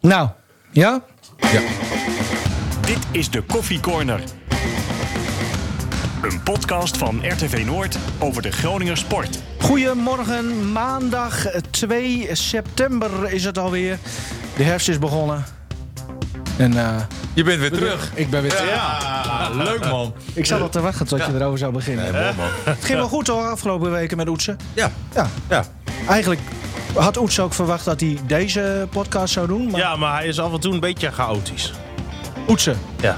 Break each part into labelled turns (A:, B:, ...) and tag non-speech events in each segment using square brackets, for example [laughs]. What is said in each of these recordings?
A: Nou, ja?
B: Ja.
C: Dit is de Koffie Corner. Een podcast van RTV Noord over de Groninger sport.
A: Goedemorgen, maandag 2 september is het alweer. De herfst is begonnen. En eh,
B: Je bent weer terug.
A: ik ben weer terug.
B: Ja, leuk man.
A: Ik zat al te wachten tot je erover zou beginnen.
B: Mooi man.
A: Het ging wel goed hoor, afgelopen weken met Oetsen.
B: Ja,
A: Ja,
B: ja.
A: eigenlijk had Oetsen ook verwacht dat hij deze podcast zou doen. Maar
D: Ja, maar hij is af en toe een beetje chaotisch.
A: Oetsen.
D: Ja.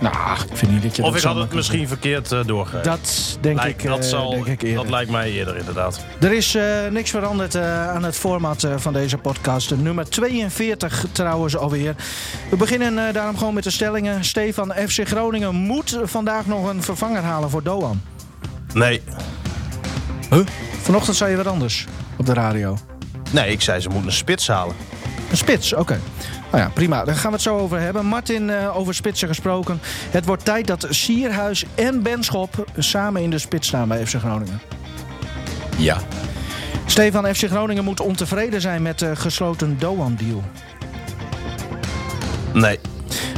A: Nou, ik vind niet dat je
D: Of
A: dat
D: ik
A: zo
D: had het
A: makkelijk-
D: misschien verkeerd eh doorgegeven.
A: Dat denk
D: Lijkt-
A: ik, eh,
D: dat, zal,
A: denk ik eerder.
D: dat lijkt mij eerder inderdaad.
A: Er is eh, niks veranderd eh, aan het format eh, van deze podcast. Nummer 42 trouwens alweer. We beginnen eh, daarom gewoon met de stellingen. Stefan, FC Groningen moet vandaag nog een vervanger halen voor Doan.
D: Nee.
A: Vanochtend zei je wat anders op de radio.
D: Nee, ik zei ze moeten een spits halen.
A: Een spits, oké. Nou ja, prima. Daar gaan we het zo over hebben. Martin, eh, over spitsen gesproken. Het wordt tijd dat Sierhuis en Benschop samen in de spits staan bij FC Groningen.
B: Ja.
A: Stefan, FC Groningen moet ontevreden zijn met de gesloten Doan-deal.
D: Nee.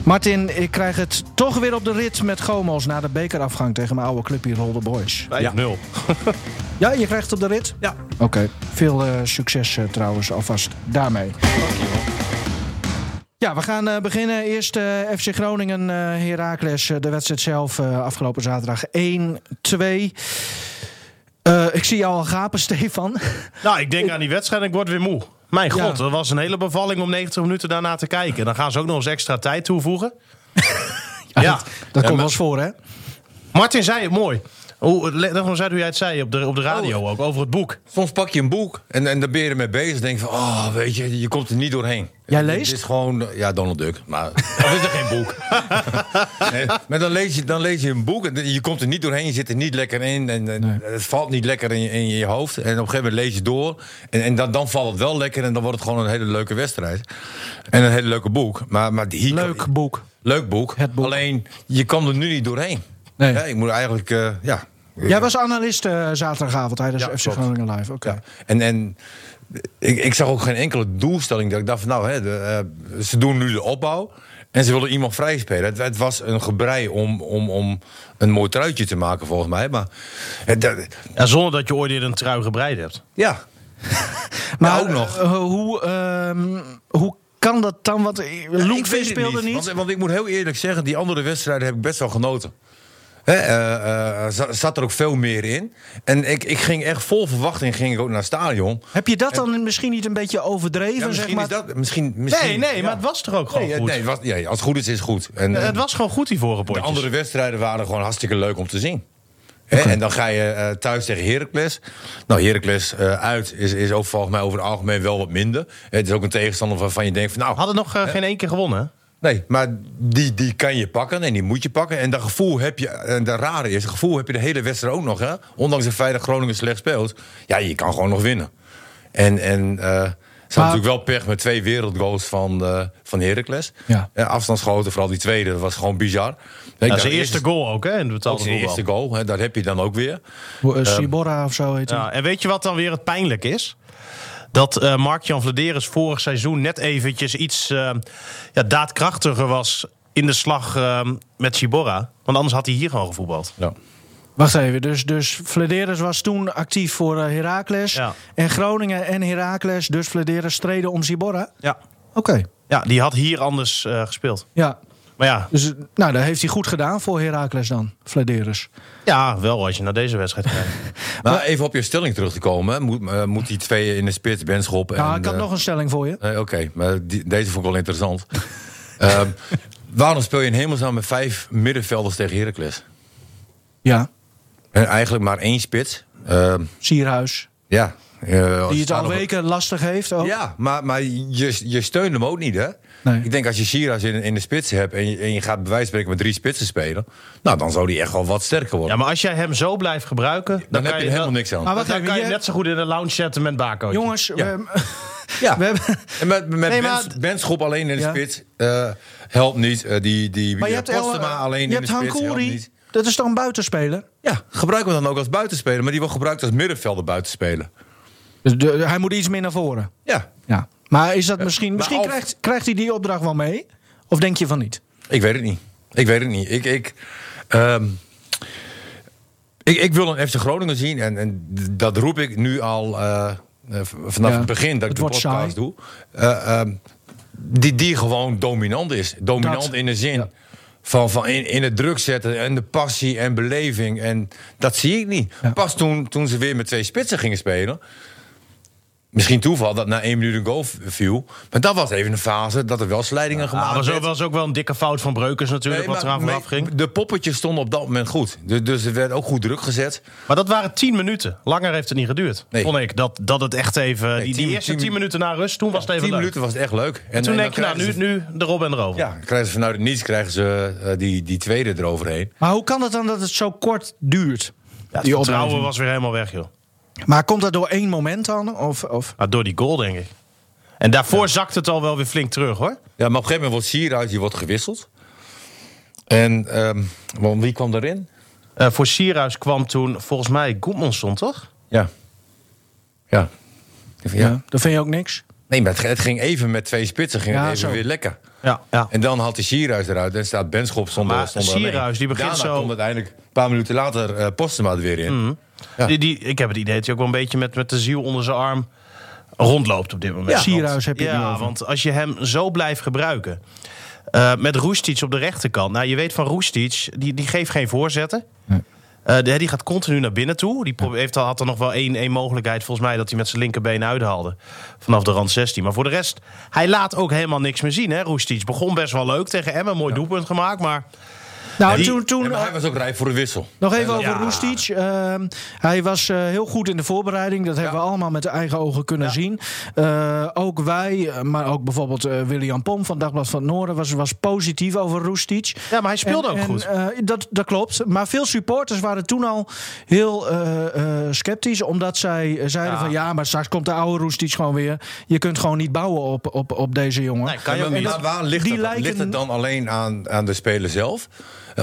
A: Martin, ik krijg het toch weer op de rit met Gomos na de bekerafgang tegen mijn oude club hier, Rolde Boys.
D: 5-0. Ja.
A: Ja, je krijgt het op de rit?
D: Ja.
A: Oké, veel eh, succes eh, trouwens alvast daarmee. Ja, we gaan eh, beginnen. Eerst eh, FC Groningen, eh Heracles, eh, de wedstrijd zelf eh, afgelopen zaterdag 1-2. Eh, ik zie jou al gapen, [laughs] Stefan.
D: Nou, ik denk aan die wedstrijd en ik word weer moe. Mijn god,
A: Ja.
D: dat was een hele bevalling om 90 minuten daarna te kijken. Dan gaan ze ook nog eens extra
A: [laughs]
D: tijd toevoegen. ja.
A: Dat komt
B: maar-
A: wel eens voor, hè?
D: Martin zei het mooi. Hoe, leg nog eens uit hoe jij het zei op de, op de radio
A: Oh.
D: ook, over het boek.
B: Soms pak je een boek en, en daar ben je ermee bezig. Denk je van, oh, weet je, je komt er niet doorheen.
A: Jij
B: Dit-
A: leest?
B: Dit is gewoon, eh, ja, Donald Duck. Maar [laughs] dat is er geen
A: [laughs]
B: boek. nee, maar dan lees, je, dan lees je een boek en je komt er niet doorheen. Je zit er niet lekker in. En, en Het valt niet lekker in je, in je hoofd. En op een gegeven moment lees je door. En, en dan, dan valt het wel lekker en dan wordt het gewoon een hele leuke wedstrijd. En een hele leuke boek. Maar, maar hier,
A: Leuk boek.
B: Leuk boek.
A: Het boek.
B: Alleen, je kan er nu niet doorheen.
A: Nee.
B: Ja, ik moet eigenlijk, eh, ja.
A: Jij was analist eh, zaterdagavond tijdens
B: Ja,
A: FC
B: klopt.
A: Groningen Live. Oké.
B: Ja. En, en ik, ik zag ook geen enkele doelstelling. Dat ik dacht van, nou, hè, de, eh, ze doen nu de opbouw. En ze willen iemand vrij spelen. Het, het was een gebrei om, om, om een mooi truitje te maken, volgens mij. Maar het, dat-
D: En zonder dat je ooit eerder een trui gebreid hebt.
B: ja,
A: Maar
B: Ja, ook nog.
A: eh, hoe, ehm, hoe kan dat dan? Want
B: Ik
A: Loenvin
B: weet het
A: speelde niet.
B: Want, eh, want ik moet heel eerlijk zeggen, die andere wedstrijden heb ik best wel genoten. Hè, eh, eh, za- zat er ook veel meer in. En ik, ik ging echt vol verwachting ging ik ook naar het stadion.
A: Heb je dat dan misschien niet een beetje overdreven?
B: Ja,
A: zeg
B: misschien
A: maar?
B: is dat... Misschien, misschien,
D: Nee, nee,
B: ja.
D: maar het was toch ook gewoon
B: Nee,
D: goed?
B: nee, wat- ja, als het goed is, is het goed. En,
D: Het
B: en
D: was gewoon goed, die vorige
B: de
D: potjes.
B: andere wedstrijden waren gewoon hartstikke leuk om te zien. Hè, En dan ga je eh, thuis tegen Heracles. Nou, Heracles eh, uit is, is ook volgens mij over het algemeen wel wat minder. Het is ook een tegenstander waarvan je denkt van... nou,
D: Hadden nog eh, geen één keer gewonnen, hè?
B: Nee, maar die, die kan je pakken en die moet je pakken. En dat gevoel heb je, en dat rare is, dat gevoel heb je de hele wedstrijd ook nog. Hè? Ondanks het feit dat Groningen slecht speelt. Ja, je kan gewoon nog winnen. En, en eh, ze hadden natuurlijk wel pech met twee wereldgoals van, eh van Heracles.
A: Ja.
B: Eh, afstandsschoten, vooral die tweede, dat was gewoon bizar.
D: Dat is de eerste goal ook, hè? In de
B: Ook
D: betaalde
B: zijn eerste
D: voetbal.
B: goal, hè, dat heb je dan ook weer.
A: Hoe,
B: Ehm,
A: eh, Ciborra of zo heet hij.
D: Ja, en weet je wat dan weer het pijnlijk is? Dat eh, Mark-Jan Vladeris vorig seizoen net eventjes iets eh, ja, daadkrachtiger was in de slag eh, met Ciborra. Want anders had hij hier gewoon gevoetbald.
B: Ja.
A: Wacht even. Dus, dus Flederis was toen actief voor eh, Heracles.
D: Ja.
A: En Groningen en Heracles. Dus Flederis streden om Ciborra.
D: Ja.
A: Oké.
D: ja, die had hier anders eh, gespeeld.
A: Ja.
D: Maar ja,
A: Dus eh, nou, dat heeft hij goed gedaan voor Heracles dan. Flederis.
D: ja, wel als je naar deze wedstrijd kijkt.
B: Maar even op je stelling terug te komen. hè. Moet, eh, moet die twee in de spits, Benschop en...
A: Nou, ik had
B: eh,
A: nog een stelling voor je.
B: Nee, Oké, maar die- deze vond ik wel interessant. [laughs] Ehm, waarom speel je in hemelsnaam met vijf middenvelders tegen Heracles?
A: Ja.
B: En eigenlijk maar één spits. Ehm,
A: Sierhuis.
B: ja. eh,
A: Die het
B: staan
A: al
B: nog-
A: weken lastig heeft. Ook.
B: Ja, maar, maar je, je steunt hem ook niet, hè?
A: Nee.
B: Ik denk als je Shiraz in, in de spits hebt en je, en je gaat bij wijze van spreken met drie spitsen spelen... nou, dan zou die echt wel wat sterker
D: Ja,
B: worden.
D: maar als jij hem zo blijft gebruiken, dan,
B: dan
D: kan
B: heb je
D: je
B: er helemaal niks aan.
A: Maar
D: Dan,
A: wacht even.
D: kan je
A: je-
D: net zo goed in de lounge zetten met Bako.
A: Jongens, we, [laughs]
B: ja.
A: we hebben...
B: En met, met
A: Nee,
B: Bens-
A: maar-
B: Benschop alleen in de
A: Ja.
B: spits eh, helpt niet. Eh, die die
A: Maar je
B: eh,
A: hebt El-
B: Postema alleen
A: je
B: in de
A: hebt
B: spits helpt
A: Hankouri.
B: niet.
A: Dat is toch een buitenspeler?
B: Ja, gebruiken we dan ook als buitenspeler. Maar die wordt gebruikt als middenvelder buitenspeler.
A: Dus de- hij moet iets meer naar voren.
B: Ja.
A: Ja. Maar is
B: Eh,
A: dat misschien. Misschien
B: al-
A: krijgt, krijgt hij die opdracht wel mee? Of denk je van niet?
B: Ik weet het niet. Ik weet het niet. Ik, ik, ehm, ik, ik wil een FC Groningen zien. En, en dat roep ik nu al eh, eh, v- vanaf
A: Ja,
B: het begin dat
A: het
B: ik de
A: wordt
B: podcast
A: saai.
B: doe. Eh, ehm, die, die gewoon dominant is. Dominant
A: Dat,
B: in de zin
A: ja.
B: van, van in, in het druk zetten en de passie en beleving. En dat zie ik niet.
A: Ja.
B: Pas toen, toen ze weer met twee spitsen gingen spelen. Misschien toeval dat na één minuut een goal v- viel. Maar dat was even een fase dat er wel slijdingen gemaakt
D: Maar Ah, was
B: werden.
D: ook, was ook wel een dikke fout van Breukers natuurlijk,
B: Nee,
D: wat
B: maar
D: eraan vooraf
B: mee-
D: ging.
B: De poppetjes stonden op dat moment goed. Dus, dus er werd ook goed druk gezet.
D: Maar dat waren tien minuten. Langer heeft het niet geduurd,
B: Nee.
D: vond ik. Dat, dat het echt even... die, die
B: tien-
D: eerste
B: tien-
D: tien minuten na rust, toen was het even
B: Tien
D: leuk.
B: minuten was het echt leuk. En,
D: Toen
B: en
D: denk je,
B: dan
D: nou, nu,
B: krijgen ze-
D: nu de Rob en de Rover.
B: Ja, dan krijgen ze vanuit het niets krijgen ze eh, die, die tweede eroverheen.
A: Maar hoe kan het dan dat het zo kort duurt?
D: het
A: die
D: vertrouwen
A: opleving?
D: was weer helemaal weg, joh.
A: Maar komt dat door één moment dan? Of, of?
D: Maar door die goal, denk ik. En daarvoor zakt het al wel weer flink terug, hoor.
B: Ja, maar op een gegeven moment wordt Sierhuis die wordt gewisseld. En ehm, want wie kwam erin?
D: Eh, voor Sierhuis kwam toen volgens mij Goedmanson, toch?
B: Ja. Ja. Ja.
A: Dan vind je ook niks?
B: Nee, maar het, het ging even met twee spitsen. Ging
A: Ja,
B: het even
A: zo.
B: weer lekker.
D: Ja. ja.
B: En dan haalt de Sierhuis eruit. Dan staat Benschop zonder
D: Maar
B: zonder
D: Sierhuis,
B: alleen.
D: die begint
B: Daarna
D: zo- Mm.
B: komt uiteindelijk een paar minuten later eh Postema er weer in. Ja.
D: Die, die, ik heb het idee dat hij ook wel een beetje met, met de ziel onder zijn arm rondloopt op dit moment.
A: Ja.
D: Want-
A: Sierhuis heb je het nu
D: Ja,
A: over.
D: want als je hem zo blijft gebruiken. eh, met Roestic op de rechterkant. Nou, je weet van Roestic, die, die geeft geen voorzetten. Eh, die, die gaat continu naar binnen toe. Die pro- heeft al, had er nog wel één, één mogelijkheid, volgens mij, dat hij met zijn linkerbeen uithaalde. Vanaf de rand 16. Maar voor de rest, hij laat ook helemaal niks meer zien. Hè, Roestic begon best wel leuk tegen Emmen. Mooi doelpunt gemaakt. Maar
A: Nou,
D: die-
A: toen, toen,
B: Ja, maar hij was ook rij voor de wissel.
A: Nog even over
D: Ja.
A: Roestic. Ehm, hij was eh, heel goed in de voorbereiding. Dat hebben we allemaal met de eigen ogen kunnen zien. Eh, ook wij, eh, maar ook bijvoorbeeld eh, William Pom van Dagblad van het Noorden... was, was positief over Roestic.
D: Ja, maar hij speelde
A: En-
D: ook
A: en,
D: goed.
A: eh, dat, dat klopt. Maar veel supporters waren toen al heel eh, eh, sceptisch... omdat zij eh, zeiden
D: Ja.
A: van... ja, maar straks komt de oude Roestic gewoon weer. Je kunt gewoon niet bouwen op, op, op deze jongen.
D: Nee, kan je
B: Ja,
D: ook
B: maar
D: niet.
B: waar- waar ligt,
A: die
B: het,
A: lijken-
B: ligt het dan alleen aan, aan de speler zelf?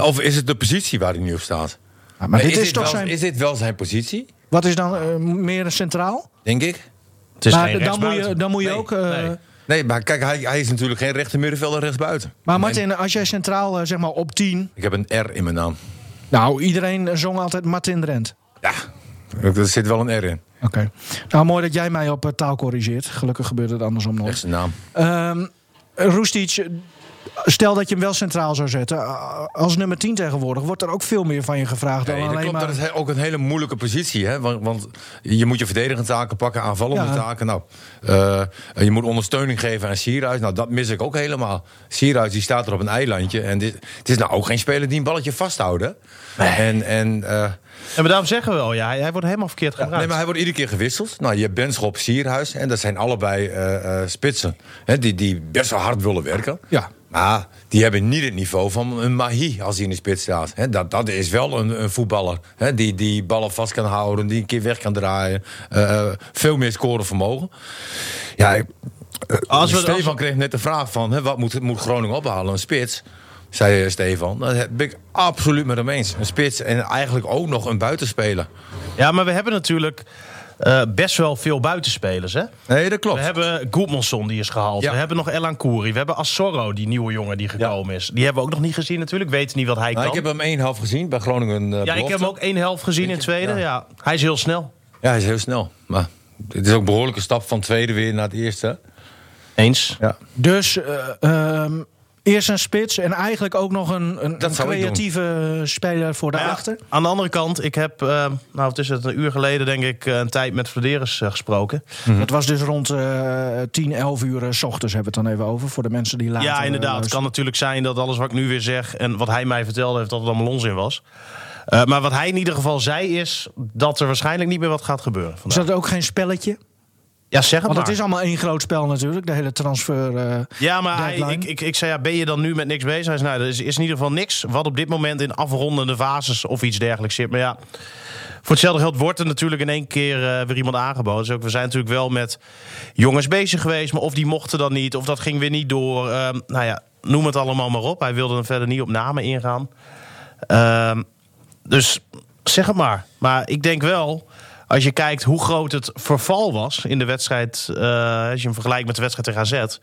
B: Of is het de positie waar hij nu op staat?
A: maar dit is toch
B: wel,
A: zijn-
B: Is dit wel zijn positie,
A: Wat is dan eh, meer centraal?
B: denk ik?
D: het is
A: Maar dan
D: geen
A: moet, je,
D: rechtsbuiten.
A: dan moet je
B: Nee,
A: ook... eh,
D: nee.
B: Nee, maar kijk, hij, hij is natuurlijk geen rechter middenvelder rechtsbuiten.
A: Maar
B: En
A: Martin, als jij centraal eh, zeg maar op 10...
B: Ik heb een R in mijn naam.
A: Nou, iedereen zong altijd Martin Drent.
B: Ja, er zit wel een R in.
A: Oké. Nou, mooi dat jij mij op eh, taal corrigeert. Gelukkig gebeurt het andersom
B: Echt
A: nooit.
B: zijn naam.
A: Ehm Roestic, eh, stel dat je hem wel centraal zou zetten. eh, Als nummer 10 tegenwoordig wordt er ook veel meer van je gevraagd
B: Nee,
A: dan
B: dat
A: alleen
B: klopt, dat
A: maar...
B: is he- ook een hele moeilijke positie. Hè? Want, want je moet je verdedigende taken pakken, aanvallende
A: Ja.
B: taken. Nou, eh, en je moet ondersteuning geven aan Sierhuis. Nou, dat mis ik ook helemaal. Sierhuis die staat er op een eilandje. En dit, het is nou ook geen speler die een balletje vasthoudt. hè. En, en, eh,
D: Ja, maar daarom zeggen we al, ja, hij, hij wordt helemaal verkeerd gebruikt.
B: nee, maar hij wordt iedere keer gewisseld. Nou, je hebt Benschop, Sierhuis. En dat zijn allebei eh, eh, spitsen. Hè, die, die best wel hard willen werken.
A: Ja.
B: Maar die hebben niet het niveau van een Mahi als hij in de spits staat. Hè, dat, dat is wel een, een voetballer. Hè, die, die ballen vast kan houden, die een keer weg kan draaien. Eh, eh, veel meer scoren vermogen. Ja, ik- eh,
D: Als we- als we-
B: Stefan kreeg net de vraag van... Hè, wat moet, moet Groningen ophalen? Een spits, zei eh, Stefan. Daar ben ik absoluut met hem eens. Een spits en eigenlijk ook nog een buitenspeler.
D: Ja, maar we hebben natuurlijk eh, best wel veel buitenspelers. Hè?
B: Nee, dat klopt.
D: We hebben Goedmanson die is gehaald.
B: Ja.
D: We hebben nog Elan Kouri. We hebben Assoro, die nieuwe jongen die gekomen is. Die hebben we ook nog niet gezien natuurlijk. Weten niet wat hij
B: Nou,
D: kan.
B: ik heb hem één half gezien bij Groningen. eh,
D: ja, ik
B: belofte.
D: heb hem ook één helft gezien in tweede. Ja. Hij is heel snel.
B: Ja, hij is heel snel. Maar het is ook een behoorlijke stap van tweede weer naar het eerste.
D: Eens.
B: Ja.
A: Dus eh, ehm, eerst een spits en eigenlijk ook nog een, een, een
B: zou ik doen.
A: creatieve speler voor
D: Maar ja,
A: daarachter.
D: aan de andere kant, ik heb, eh, nou wat is het, een uur geleden denk ik, eh, een tijd met Vladeris eh, gesproken.
A: Dat was dus rond eh 10, 11 uur eh, s ochtends hebben we het dan even over. Voor de mensen die later
D: Ja,
A: eh,
D: inderdaad. Het
A: luisteren.
D: kan natuurlijk zijn dat alles wat ik nu weer zeg en wat hij mij vertelde heeft, dat het allemaal onzin was. Eh, maar wat hij in ieder geval zei is dat er waarschijnlijk niet meer wat gaat gebeuren.
A: Is
D: Vandaag.
A: dat ook geen spelletje?
D: Ja, zeg het
A: Want
D: maar.
A: het is allemaal één groot spel natuurlijk, de hele transfer. eh,
D: ja, maar hij-
A: deadline.
D: ik, ik, ik zei, ja, ben je dan nu met niks bezig? Hij zei, nou, er is, is in ieder geval niks wat op dit moment in afrondende fases of iets dergelijks zit. Maar ja, voor hetzelfde geld wordt er natuurlijk in één keer eh, weer iemand aangeboden. Dus ook, we zijn natuurlijk wel met jongens bezig geweest, maar of die mochten dan niet, of dat ging weer niet door. Ehm, nou ja, noem het allemaal maar op. Hij wilde er verder niet op namen ingaan. Ehm, dus zeg het maar. Maar ik denk wel, Als je kijkt hoe groot het verval was in de wedstrijd. eh, als je hem vergelijkt met de wedstrijd tegen AZ.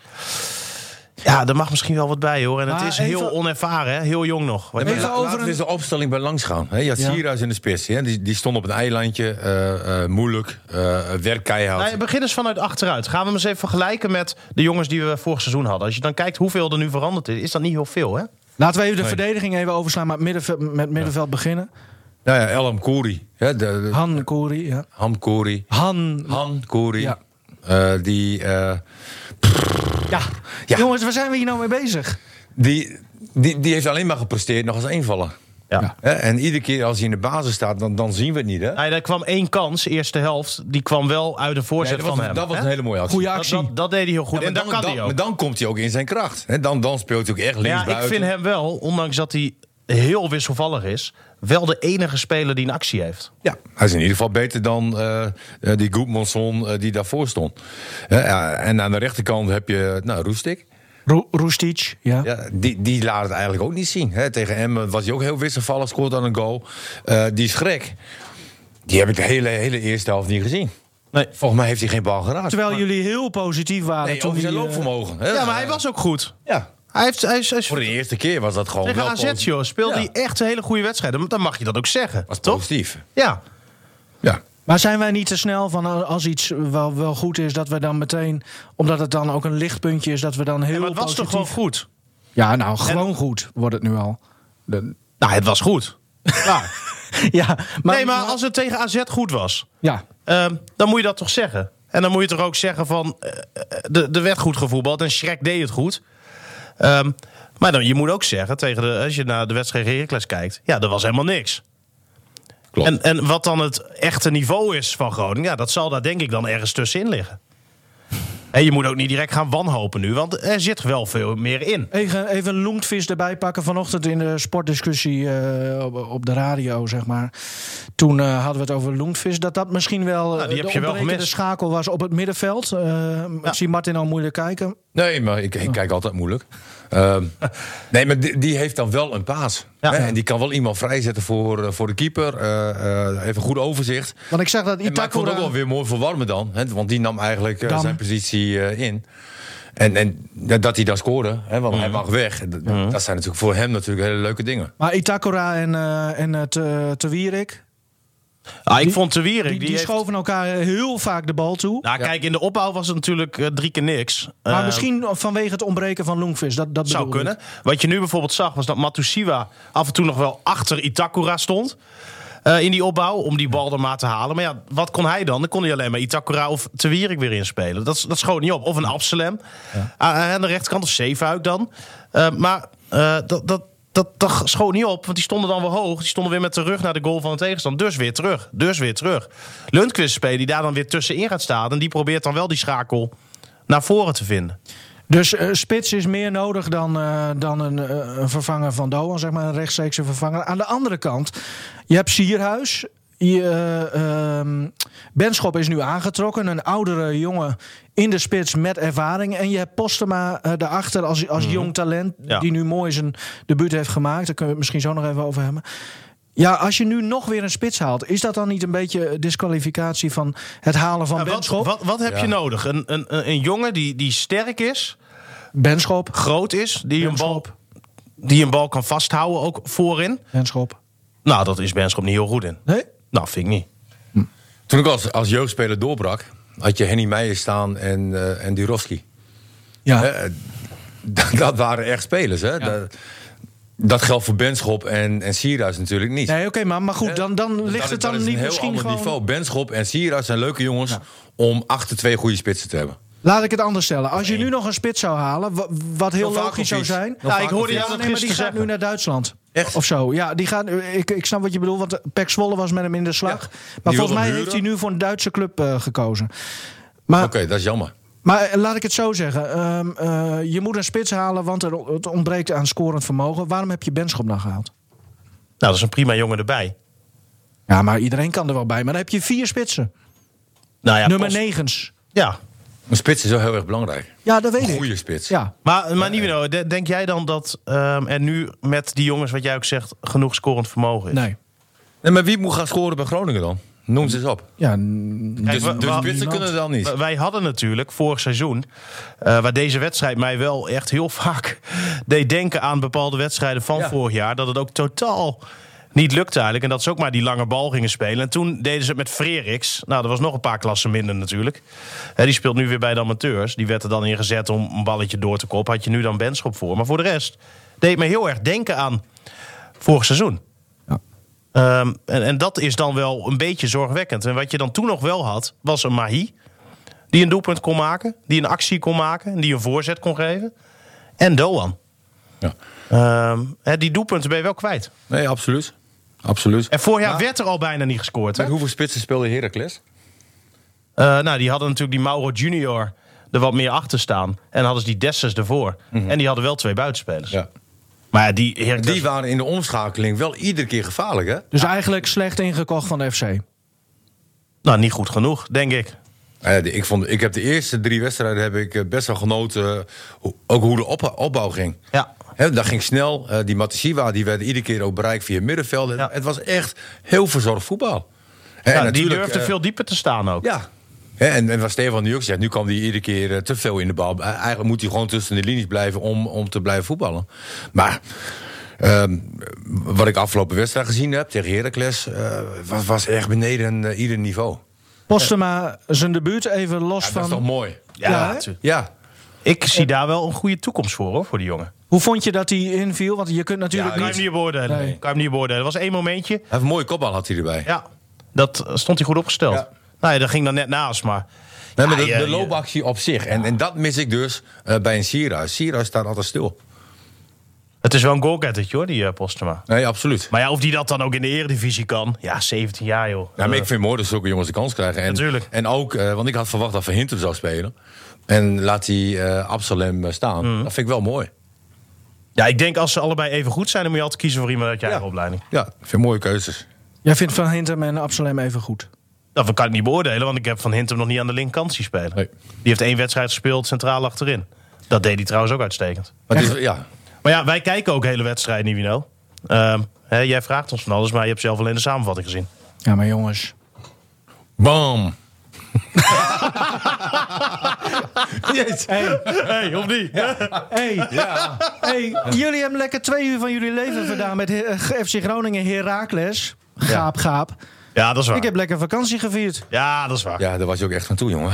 D: Ja, er mag misschien wel wat bij hoor. En het
A: Maar
D: is heel
A: even-
D: onervaren, hè? heel jong nog. Wat
A: Even
D: je-
B: Laat-
A: over
B: Laten
A: een-
B: we eens de opstelling bij langs gaan. Hè, Je had
A: Ja.
B: Sierhuis in de spits. Hè? Die, die stond op een eilandje. eh, eh, moeilijk. eh werk keihard.
D: Nou, begin eens vanuit achteruit. Gaan we hem eens even vergelijken met de jongens die we vorig seizoen hadden. Als je dan kijkt hoeveel er nu veranderd is, is dat niet heel veel, hè?
A: Laten we even de verdediging even overslaan, maar het middenveld, met middenveld beginnen.
B: Nou ja, Elham Kouri. Hè? De, de-
A: Han Kouri, ja.
B: Ham Kouri.
A: Han.
B: Han Kouri.
A: Ja.
B: Eh, die, eh,
A: Ja.
B: Ja.
A: Jongens, waar zijn we hier nou mee bezig?
B: die, die, die heeft alleen maar gepresteerd nog als eenvaller.
D: Ja.
B: Hè, En iedere keer als hij in de basis staat, dan, dan zien we het niet. Hè?
D: Nee, er kwam één kans, eerste helft. Die kwam wel uit een
B: Nee,
D: voorzet
B: dat, was,
D: van hem.
B: dat was
D: hè?
B: een hele mooie actie.
A: Goeie
B: Ja,
D: dat,
A: actie.
D: dat, dat deed hij heel goed.
B: maar
D: en dat
B: dan,
D: kan
B: dan-
D: hij
B: maar
D: ook.
B: dan komt hij ook in zijn kracht. Hè? Dan, dan speelt hij ook echt links
D: Ja, ik
B: buiten.
D: vind hem wel, ondanks dat hij heel wisselvallig is... wel de enige speler die een actie heeft.
B: Ja, hij is in ieder geval beter dan eh, eh, die Goedmanson eh, die daarvoor stond. Hè, ja, en aan de rechterkant heb je nou, Roestik.
A: Ro- Roestic, ja.
B: Ja, die, die laat het eigenlijk ook niet zien. Hè. Tegen hem was hij ook heel wisselvallig, scoort aan een goal. Eh, die schrek, die heb ik de hele, hele eerste helft niet gezien.
D: Nee.
B: Volgens mij heeft hij geen bal geraakt.
A: Terwijl jullie heel positief waren.
B: nee,
A: toen
D: oh,
B: over zijn
A: die, eh,
B: loopvermogen. hè.
D: Ja, maar hij was ook goed.
B: Ja,
D: Hij heeft, hij is, hij is-
B: voor de eerste keer was dat gewoon
D: tegen
B: wel
D: AZ,
B: positief.
D: joh, speelde
B: Ja,
D: hij echt een hele goede wedstrijd. Dan mag je dat ook zeggen,
B: was
D: toch?
B: positief.
D: Ja.
B: Ja.
A: Maar zijn wij niet te snel van eh, als iets wel, wel goed is, dat we dan meteen, omdat het dan ook een lichtpuntje is, dat we dan heel
D: Ja, maar het was toch
A: positief...
D: gewoon goed?
A: Ja, nou, gewoon goed wordt het nu al.
D: Nou, het was goed. Ja.
A: [laughs] Ja, maar,
D: nee, maar als het tegen AZ goed was,
A: Ja,
D: ehm, dan moet je dat toch zeggen. En dan moet je toch ook zeggen van, eh, eh, de er werd goed gevoetbald en Schrek deed het goed. Ehm, maar dan, je moet ook zeggen, tegen de, als je naar de wedstrijd tegen Heracles kijkt, ja, er was helemaal niks.
B: Klopt.
D: En, en wat dan het echte niveau is van Groningen, ja, dat zal daar denk ik dan ergens tussenin [laughs] liggen. En je moet ook niet direct gaan wanhopen nu, want er zit wel veel meer in.
A: even, even een loentvis erbij pakken. Vanochtend in de sportdiscussie eh, op, op de radio, zeg maar. Toen eh, hadden we het over loentvis. Dat dat misschien wel eh,
D: Nou, die heb
A: de
D: je wel
A: ontbrekende
D: gemist.
A: schakel was op het middenveld. Eh, Ik zie Martin al moeilijk kijken.
B: Nee, maar ik, ik kijk altijd moeilijk. Ehm, [laughs] nee, maar die, die heeft dan wel een paas.
D: Ja.
B: Hè, En die kan wel iemand vrijzetten voor, eh, voor de keeper. Eh, eh, heeft een goed overzicht.
A: Want ik zag dat
B: En, maar ik vond het ook wel
A: Itakura...
B: weer mooi voor Warme dan. Hè, want die nam eigenlijk eh,
A: Dam.
B: zijn positie eh, in. En, en dat- dat hij daar scoorde, hè, want hij mag weg. Dat, dat zijn natuurlijk voor hem natuurlijk hele leuke dingen.
A: Maar Itakura en, eh en eh, te, te Wierik,
D: Ah, ik vond Te Wierik,
A: die, die,
D: heeft-
A: schoven elkaar heel vaak de bal toe.
D: Nou, kijk, in de opbouw was het natuurlijk eh, drie keer niks.
A: maar
D: Eh,
A: misschien vanwege het ontbreken van loentvis. Dat, dat
D: zou
A: bedoel ik.
D: kunnen. Wat je nu bijvoorbeeld zag, was dat Matusiwa af en toe nog wel achter Itakura stond. eh, in die opbouw, om die bal er maar te halen. Maar ja, wat kon hij dan? Dan kon hij alleen maar Itakura of Te Wierik weer inspelen. Dat, dat schoot niet op. Of een Absalem Ah, aan de rechterkant, of Zeefuik dan. Eh, maar eh, dat, dat, dat, dat schoot niet op, want die stonden dan weer hoog. Die stonden weer met de rug naar de goal van de tegenstander. Dus weer terug, dus weer terug. Lundqvist spelen, die daar dan weer tussenin gaat staan. En die probeert dan wel die schakel naar voren te vinden.
A: Dus eh, spits is meer nodig dan, eh, dan een, eh, een vervanger van Doan, zeg maar, een rechtstreekse vervanger. Aan de andere kant, je hebt Sierhuis. Je, eh, ehm, Benschop is nu aangetrokken, een oudere jongen in de spits met ervaring. En je hebt Postema eh, daarachter als, als jong talent,
D: Mhm. Ja.
A: die nu mooi zijn debuut heeft gemaakt. Daar kunnen we het misschien zo nog even over hebben. Ja, als je nu nog weer een spits haalt, is dat dan niet een beetje disqualificatie van het halen van
D: Ja, wat,
A: Benschop?
D: wat, wat heb
B: Ja.
D: je nodig? Een, een, een, een jongen die, die sterk is,
A: Benschop,
D: groot is, die een, bal,
A: Benschop.
D: die een bal kan vasthouden ook voorin.
A: Benschop.
D: Nou, dat is Benschop niet heel goed in.
A: Nee?
D: Nou, vind ik niet.
B: Toen ik als, als jeugdspeler doorbrak, had je Henny Meijer staan en, eh en Durovski.
A: Ja.
B: Hè, Eh, dat, [laughs] dat waren echt spelers. Hè? Dat, dat geldt voor Benschop en, en Sierhuis natuurlijk niet.
A: Nee, oké, maar, maar goed, dan, dan
B: Dat
A: ligt
B: Eh, is-
A: het
B: dat
A: dan
B: is
A: niet
B: een heel
A: misschien
B: ander
A: gewoon...
B: niveau. Benschop en Sierhuis zijn leuke jongens om achter twee goede spitsen te hebben.
A: Laat ik het anders stellen. Als je nu nog een spits zou halen, wa- wat heel
B: Novakovic.
A: logisch zou zijn...
B: Novakovic.
D: ik hoorde jou-
A: Ja, nee, maar
D: dat
A: die
D: gisteren
A: gaat
D: zeggen.
A: nu naar Duitsland.
B: Echt?
A: Of zo. Ja, die gaat, ik, ik snap wat je bedoelt, want Pek Zwolle was met hem in de slag.
B: Ja,
A: maar
B: die
A: volgens
B: wilde
A: mij
B: hem
A: heeft hij
B: huren.
A: nu voor een Duitse club eh, gekozen. Maar,
B: Oké, dat is jammer.
A: maar eh, laat ik het zo zeggen. Ehm, eh, je moet een spits halen, want er, o- het ontbreekt aan scorend vermogen. Waarom heb je Benschop dan gehaald?
D: Nou, dat is een prima jongen erbij.
A: Ja, maar iedereen kan er wel bij. Maar dan heb je vier spitsen.
D: Nou ja,
A: Nummer
D: Post-
A: negens.
D: Ja.
B: Een spits is wel heel erg belangrijk.
A: Ja, dat weet
B: Een
A: ik.
B: goede spits.
A: Ja,
D: Maar, maar Nivino, de- denk jij dan dat ehm, er nu met die jongens, wat jij ook zegt, genoeg scorend vermogen is?
A: nee.
B: Nee, maar wie moet gaan scoren bij Groningen dan? Noem ze eens op.
A: Ja, n-
D: Kijk,
B: Dus,
D: wa-
B: dus
D: wa-
B: spitsen kunnen dan niet.
D: W- Wij hadden natuurlijk vorig seizoen, eh, waar deze wedstrijd mij wel echt heel [laughs] vaak deed denken aan bepaalde wedstrijden van
B: Ja.
D: vorig jaar, dat het ook totaal niet lukte eigenlijk. En dat ze ook maar die lange bal gingen spelen. En toen deden ze het met Freriks. Nou, dat was nog een paar klassen minder natuurlijk. Hè, die speelt nu weer bij de amateurs. Die werd er dan ingezet om een balletje door te koppen. Had je nu dan Benschop voor. Maar voor de rest deed het me heel erg denken aan vorig seizoen.
A: Ja.
D: Ehm, en, en dat is dan wel een beetje zorgwekkend. En wat je dan toen nog wel had, was een Mahi. Die een doelpunt kon maken. Die een actie kon maken. en Die een voorzet kon geven. En Doan.
B: Ja.
D: Ehm, hè, die doelpunten ben je wel kwijt.
B: Nee, absoluut. Absoluut.
D: En vorig jaar
B: Maar-
D: werd er al bijna niet gescoord. Hè?
B: Met hoeveel spitsen speelde Heracles?
D: Eh, nou, die hadden natuurlijk die Mauro Junior er wat meer achter staan. En hadden ze die Dessers ervoor. En die hadden wel twee buitenspelers.
B: Mhm. Ja.
D: Maar ja, die, Heracles-
B: Die waren in de omschakeling wel iedere keer gevaarlijk, hè?
A: Dus eigenlijk slecht ingekocht van de FC.
D: Nou, niet goed genoeg, denk ik.
B: Nou ja, de- ik, vond, ik heb de eerste drie wedstrijden heb ik eh, best wel genoten. eh, hoe- Ook hoe de op- opbouw ging.
D: Ja.
B: Hè, dat ging snel. Eh, die Matisiwa die werd iedere keer ook bereikt via middenveld.
D: Ja.
B: Het was echt heel verzorgd voetbal. En
D: Nou, die
B: natuurlijk,
D: durfde
B: eh,
D: veel dieper te staan ook.
B: Ja. Hè, en, en wat Stefan nu ook zegt, nu kwam hij iedere keer eh, te veel in de bal. Eh, Eigenlijk moet hij gewoon tussen de linies blijven om, om te blijven voetballen. Maar ehm, wat ik afgelopen wedstrijd gezien heb tegen Heracles... eh, was, was echt beneden eh, ieder niveau.
A: Postema, zijn debuut even los
B: Ja, dat
A: van...
B: is toch mooi?
D: Ja,
A: Ja, hè?
D: natuurlijk.
B: Ja.
D: Ik zie daar wel een goede toekomst voor, hoor, voor die jongen.
A: Hoe vond je dat hij inviel? Want je kunt natuurlijk
B: Ja,
D: Kan
A: niet...
D: je hem niet beoordelen.
A: Nee.
D: Kan je hem niet beoordelen. Er was één momentje.
B: Hij heeft een mooie kopbal had hij erbij.
D: Ja, dat eh, stond hij goed opgesteld.
B: Ja.
D: Nou ja, dat ging dan net naast, maar...
B: Nee, maar
D: Ja,
B: de,
D: je-
B: de loopactie op zich. En, en dat mis ik dus eh, bij een Sierra. Sierra staat altijd stil.
D: Het is wel een goalgettertje, hoor, die eh, Postema.
B: Nee, absoluut.
D: Maar ja, of die dat dan ook in de eredivisie kan. Ja, 17 jaar, joh.
B: Ja, maar
D: Eh,
B: ik vind het mooi dat zulke jongens de kans krijgen. En,
D: Natuurlijk.
B: En ook, eh, want ik had verwacht dat Van Hintem zou spelen. En laat die eh Absalem eh, staan.
D: Mhm.
B: Dat vind ik wel mooi.
D: ja, ik denk als ze allebei even goed zijn... dan moet je altijd kiezen voor iemand uit je eigen opleiding.
B: Ja, ik vind mooie keuzes.
A: Jij vindt Van Hintem en Absalem even goed.
D: Dat kan ik niet beoordelen, want ik heb Van Hintem nog niet aan de linkerkant zien spelen.
B: Nee.
D: Die heeft één wedstrijd gespeeld, centraal achterin. Dat deed hij trouwens ook uitstekend.
B: Maar het is, ja,
D: Maar ja, wij kijken ook hele wedstrijden, Nivino. Ehm hè, jij vraagt ons van alles, maar je hebt zelf alleen de samenvatting gezien.
A: Ja, maar jongens.
B: bam. Jezus.
D: hey, of niet?
A: Hey, hey, jullie hebben lekker twee uur van jullie leven gedaan met He- FC Groningen Herakles. Gaap, gaap.
D: Ja, dat is waar.
A: Ik heb lekker vakantie gevierd.
D: Ja, dat is waar.
B: Ja, daar was je ook echt van toe, jongen.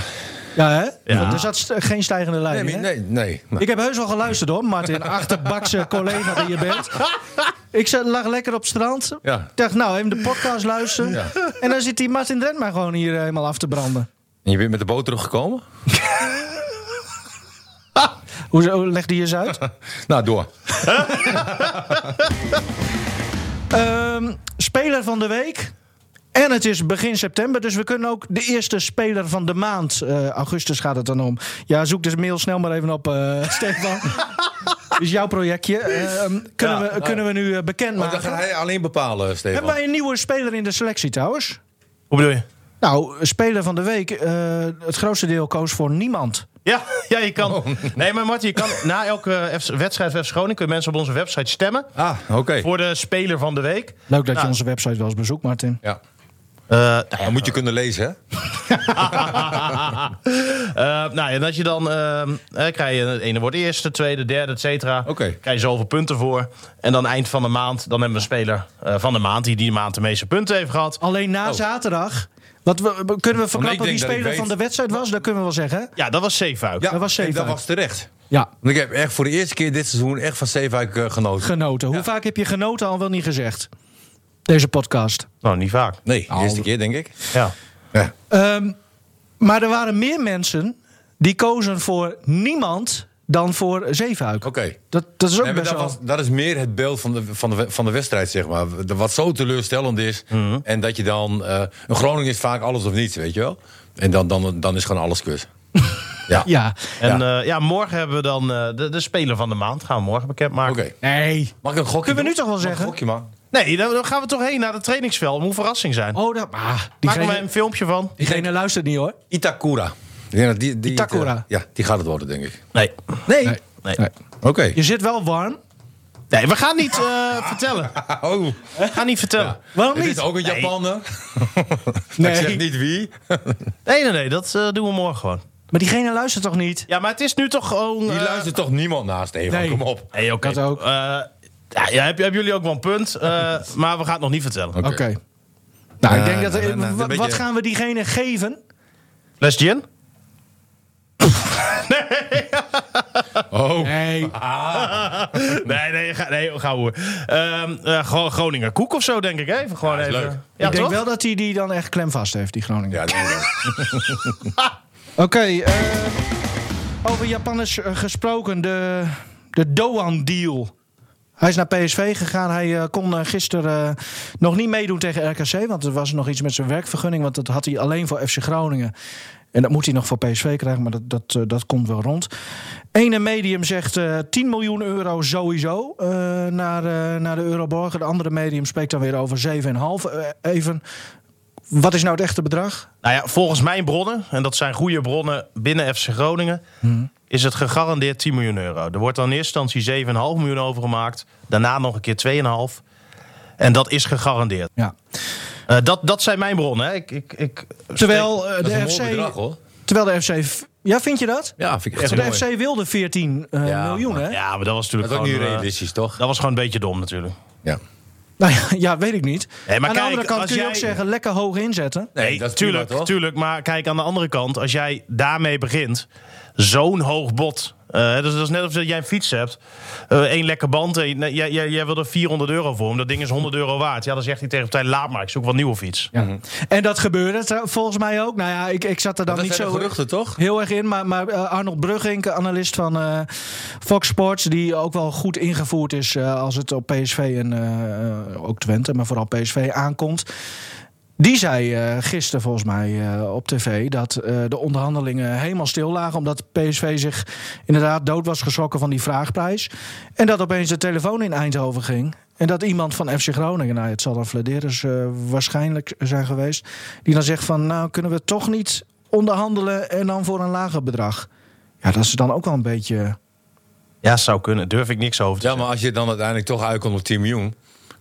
A: Ja, hè?
D: Ja.
A: Er zat st- geen stijgende
B: Nee,
A: lijn.
B: nee,
A: hè?
B: nee. nee.
A: Ik heb heus wel geluisterd hoor, Martin.
B: [laughs]
A: Achterbakse collega die je bent. Ik zat, lag lekker op het strand.
B: Ja.
A: Ik dacht, nou, even de podcast luisteren.
B: Ja.
A: En dan zit die Martin Drent maar gewoon hier eh, helemaal af te branden.
B: En je bent met de boot teruggekomen?
A: Hoezo leg die eens
B: [laughs]
A: uit?
B: Nou, door.
A: Ehm, speler van de week. En het is begin september, dus we kunnen ook de eerste speler van de maand. eh, augustus gaat het dan om. Ja, zoek dus mail snel maar even op, eh, [laughs] Stefan. is jouw projectje. Ehm, kunnen,
B: Ja, Oh,
A: we,
B: nou.
A: kunnen we nu eh,
B: Maar dan
A: bekendmaken?
B: gaat hij alleen bepalen, Stefan.
A: Hebben wij een nieuwe speler in de selectie trouwens?
D: Hoe bedoel je?
A: Nou, speler van de week. eh, het grootste deel koos voor niemand.
D: Ja, [laughs] ja, je kan. Nee, maar Martin, je kan na elke F- wedstrijd van FC Groningen kunnen mensen op onze website stemmen
B: Ah, oké.
D: voor de speler van de week.
A: Leuk dat je
B: Nou.
D: Ja.
A: onze website wel eens bezoekt, Martin.
B: Ja.
D: Eh, nou ja,
B: Dan moet je kunnen lezen, hè?
D: [laughs] Eh, nou, en als je dan ehm, eh, krijg je het ene wordt eerste, tweede, derde, et cetera.
B: Oké.
D: Krijg je zoveel punten voor. En dan eind van de maand, dan hebben we een speler eh, van de maand die die maand de meeste punten heeft gehad.
A: Alleen na zaterdag. Wat we, we- kunnen we verklappen
B: denk
A: wie
B: dat Oh. ik
A: speler
B: weet.
A: van de wedstrijd was? Dat kunnen we wel zeggen. hè?
D: Ja, dat was Zeefuik.
A: Dat was
B: en
A: zeven.
B: dat was terecht.
A: Ja,
B: Want ik heb echt voor de eerste keer dit seizoen echt van Zeefuik eh, genoten.
A: genoten. Hoe vaak heb je genoten al wel niet gezegd? Deze podcast.
D: Nou, niet vaak.
B: nee, de
A: Oh.
B: eerste keer denk ik.
D: Ja.
B: Ja.
A: Ehm, maar er waren meer mensen die kozen voor niemand dan voor Zeefuik.
B: Oké.
A: Dat, dat is ook
B: Nee, maar
A: best
B: dat,
A: wel...
B: was- dat is meer het beeld van de, van de, van de wedstrijd, zeg maar. De- Wat zo teleurstellend is.
A: Mhm.
B: En dat je dan... eh een Groningen is vaak alles of niets, weet je wel? En dan, dan, dan is gewoon
A: [laughs]
B: alles kus. ja.
A: Ja.
D: En ja. ja, morgen hebben we dan eh, de, de speler van de maand. Gaan we morgen bekendmaken.
B: Oké.
A: Nee.
B: Mag ik een gokje
A: Kunnen we nu toch
B: doen?
A: wel
B: Mag ik
A: zeggen?
B: Een gokje, man.
D: Nee, dan dan gaan we toch heen naar het trainingsveld. Moet een verrassing zijn.
A: Oh, dat... Ah,
D: Maken wij
A: diegene,
D: een filmpje van?
A: diegene luistert niet, hoor.
B: Itakura. Ik denk dat die, die het, eh,
A: Itakura.
B: ja, die gaat het worden, denk ik.
D: Nee.
A: Nee.
D: Nee.
B: Oké.
A: Je zit wel warm.
D: Nee, we gaan niet eh, [laughs] vertellen.
B: [laughs] Oh,
D: We gaan niet vertellen.
A: Waarom
B: het
A: niet?
B: is ook een
A: [laughs]
D: Nee.
B: Japaner.
A: Nee.
B: Ik zeg niet wie.
D: Nee, nee, nee, dat eh, doen we morgen gewoon.
A: Maar diegene luistert toch niet?
D: Ja, maar het is nu toch gewoon...
B: Die
D: eh,
B: luistert toch niemand naast Evan,
A: nee.
B: kom op.
D: Nee, oké.
A: Dat ook.
D: Eh, ja, ja, heb- hebben jullie ook wel een punt, eh, maar we gaan het nog niet vertellen.
B: Oké.
A: Oké. Nou, ik
B: Ja,
A: denk dat.
B: nou, nou, nou,
A: wa-
B: een beetje-
A: Wat gaan we diegene geven?
D: Les Jin?
B: Oh,
A: Nee.
D: Nee, nee, ga, nee ga hoor. Ehm eh, gewoon Groninger koek of zo, denk ik. Even, gewoon
B: is
D: even.
B: leuk.
D: Ja,
A: ik denk
D: toch?
A: wel dat hij die dan echt klemvast heeft, die Groningen.
B: ja, dat is wel.
A: Oké, eh, over Japanners eh, gesproken, de, de Doan-deal. Hij is naar PSV gegaan. Hij eh, kon eh, gisteren eh, nog niet meedoen tegen RKC, want er was nog iets met zijn werkvergunning. Want dat had hij alleen voor FC Groningen. En dat moet hij nog voor PSV krijgen, maar dat, dat, eh, dat komt wel rond. Ene medium zegt eh 10 miljoen euro sowieso eh, naar, eh, naar de Euroborger. De andere medium spreekt dan weer over 7,5. Eh, even, wat is nou het echte bedrag?
D: Nou ja, volgens mijn bronnen, en dat zijn goede bronnen binnen FC Groningen, is het gegarandeerd 10 miljoen euro. Er wordt dan in eerste instantie 7,5 miljoen overgemaakt, daarna nog een keer 2,5. En dat is gegarandeerd.
A: Ja.
D: Eh, dat, dat zijn mijn bronnen. Hè. Ik, ik, ik,
A: Terwijl eh,
B: Dat is een mooi
A: de
B: bedrag,
A: FC.
B: hoor.
A: Terwijl de FC. v- Ja, vind je dat?
B: Ja, vind ik echt
A: Want
B: mooi.
A: de FC wilde 14 eh,
B: Ja,
A: miljoen, hè?
D: ja, maar dat was
B: Dat
D: natuurlijk
B: is ook niet
D: gewoon, eh,
B: realistisch, toch?
D: dat was gewoon een beetje dom natuurlijk.
B: Ja.
A: Nou ja, ja, weet ik niet.
D: Nee, maar
A: Aan
D: kijk,
A: de andere kant
D: als
A: kun je
D: jij-
A: ook zeggen: lekker hoog inzetten.
B: Nee,
D: Nee,
B: dat is
D: tuurlijk,
B: prima, toch?
D: tuurlijk. Maar kijk, aan de andere kant, als jij daarmee begint, zo'n hoog bot. eh, dus dat is net alsof jij een fiets hebt. Eén lekker band. eh, nee, jij, jij, jij wil er 400 euro voor. Om dat ding is 100 euro waard. Ja, dan zegt hij tegen de partij, laat maar. Ik zoek wel een nieuwe fiets.
A: En dat gebeurde trouw- volgens mij ook. Nou ja, ik, ik zat er dan
B: Dat
A: niet
B: zijn
A: zo
B: de geruchten, toch?
A: heel erg in. Maar, maar eh, Arnold Bruggink, analist van eh, Fox Sports, die ook wel goed ingevoerd is eh, als het op PSV en eh, ook Twente, maar vooral PSV aankomt. Die zei eh gisteren volgens mij eh, op tv dat eh, de onderhandelingen helemaal stil lagen. Omdat PSV zich inderdaad dood was geschrokken van die vraagprijs. En dat opeens de telefoon in Eindhoven ging. En dat iemand van FC Groningen, nou, het zal dan Vladeris eh, waarschijnlijk zijn geweest. Die dan zegt van nou kunnen we toch niet onderhandelen en dan voor een lager bedrag. Ja, dat is dan ook wel een beetje...
D: Ja, zou kunnen. Durf ik niks over te
B: Ja,
D: zeggen.
B: maar als je dan uiteindelijk toch uitkomt op 10 miljoen...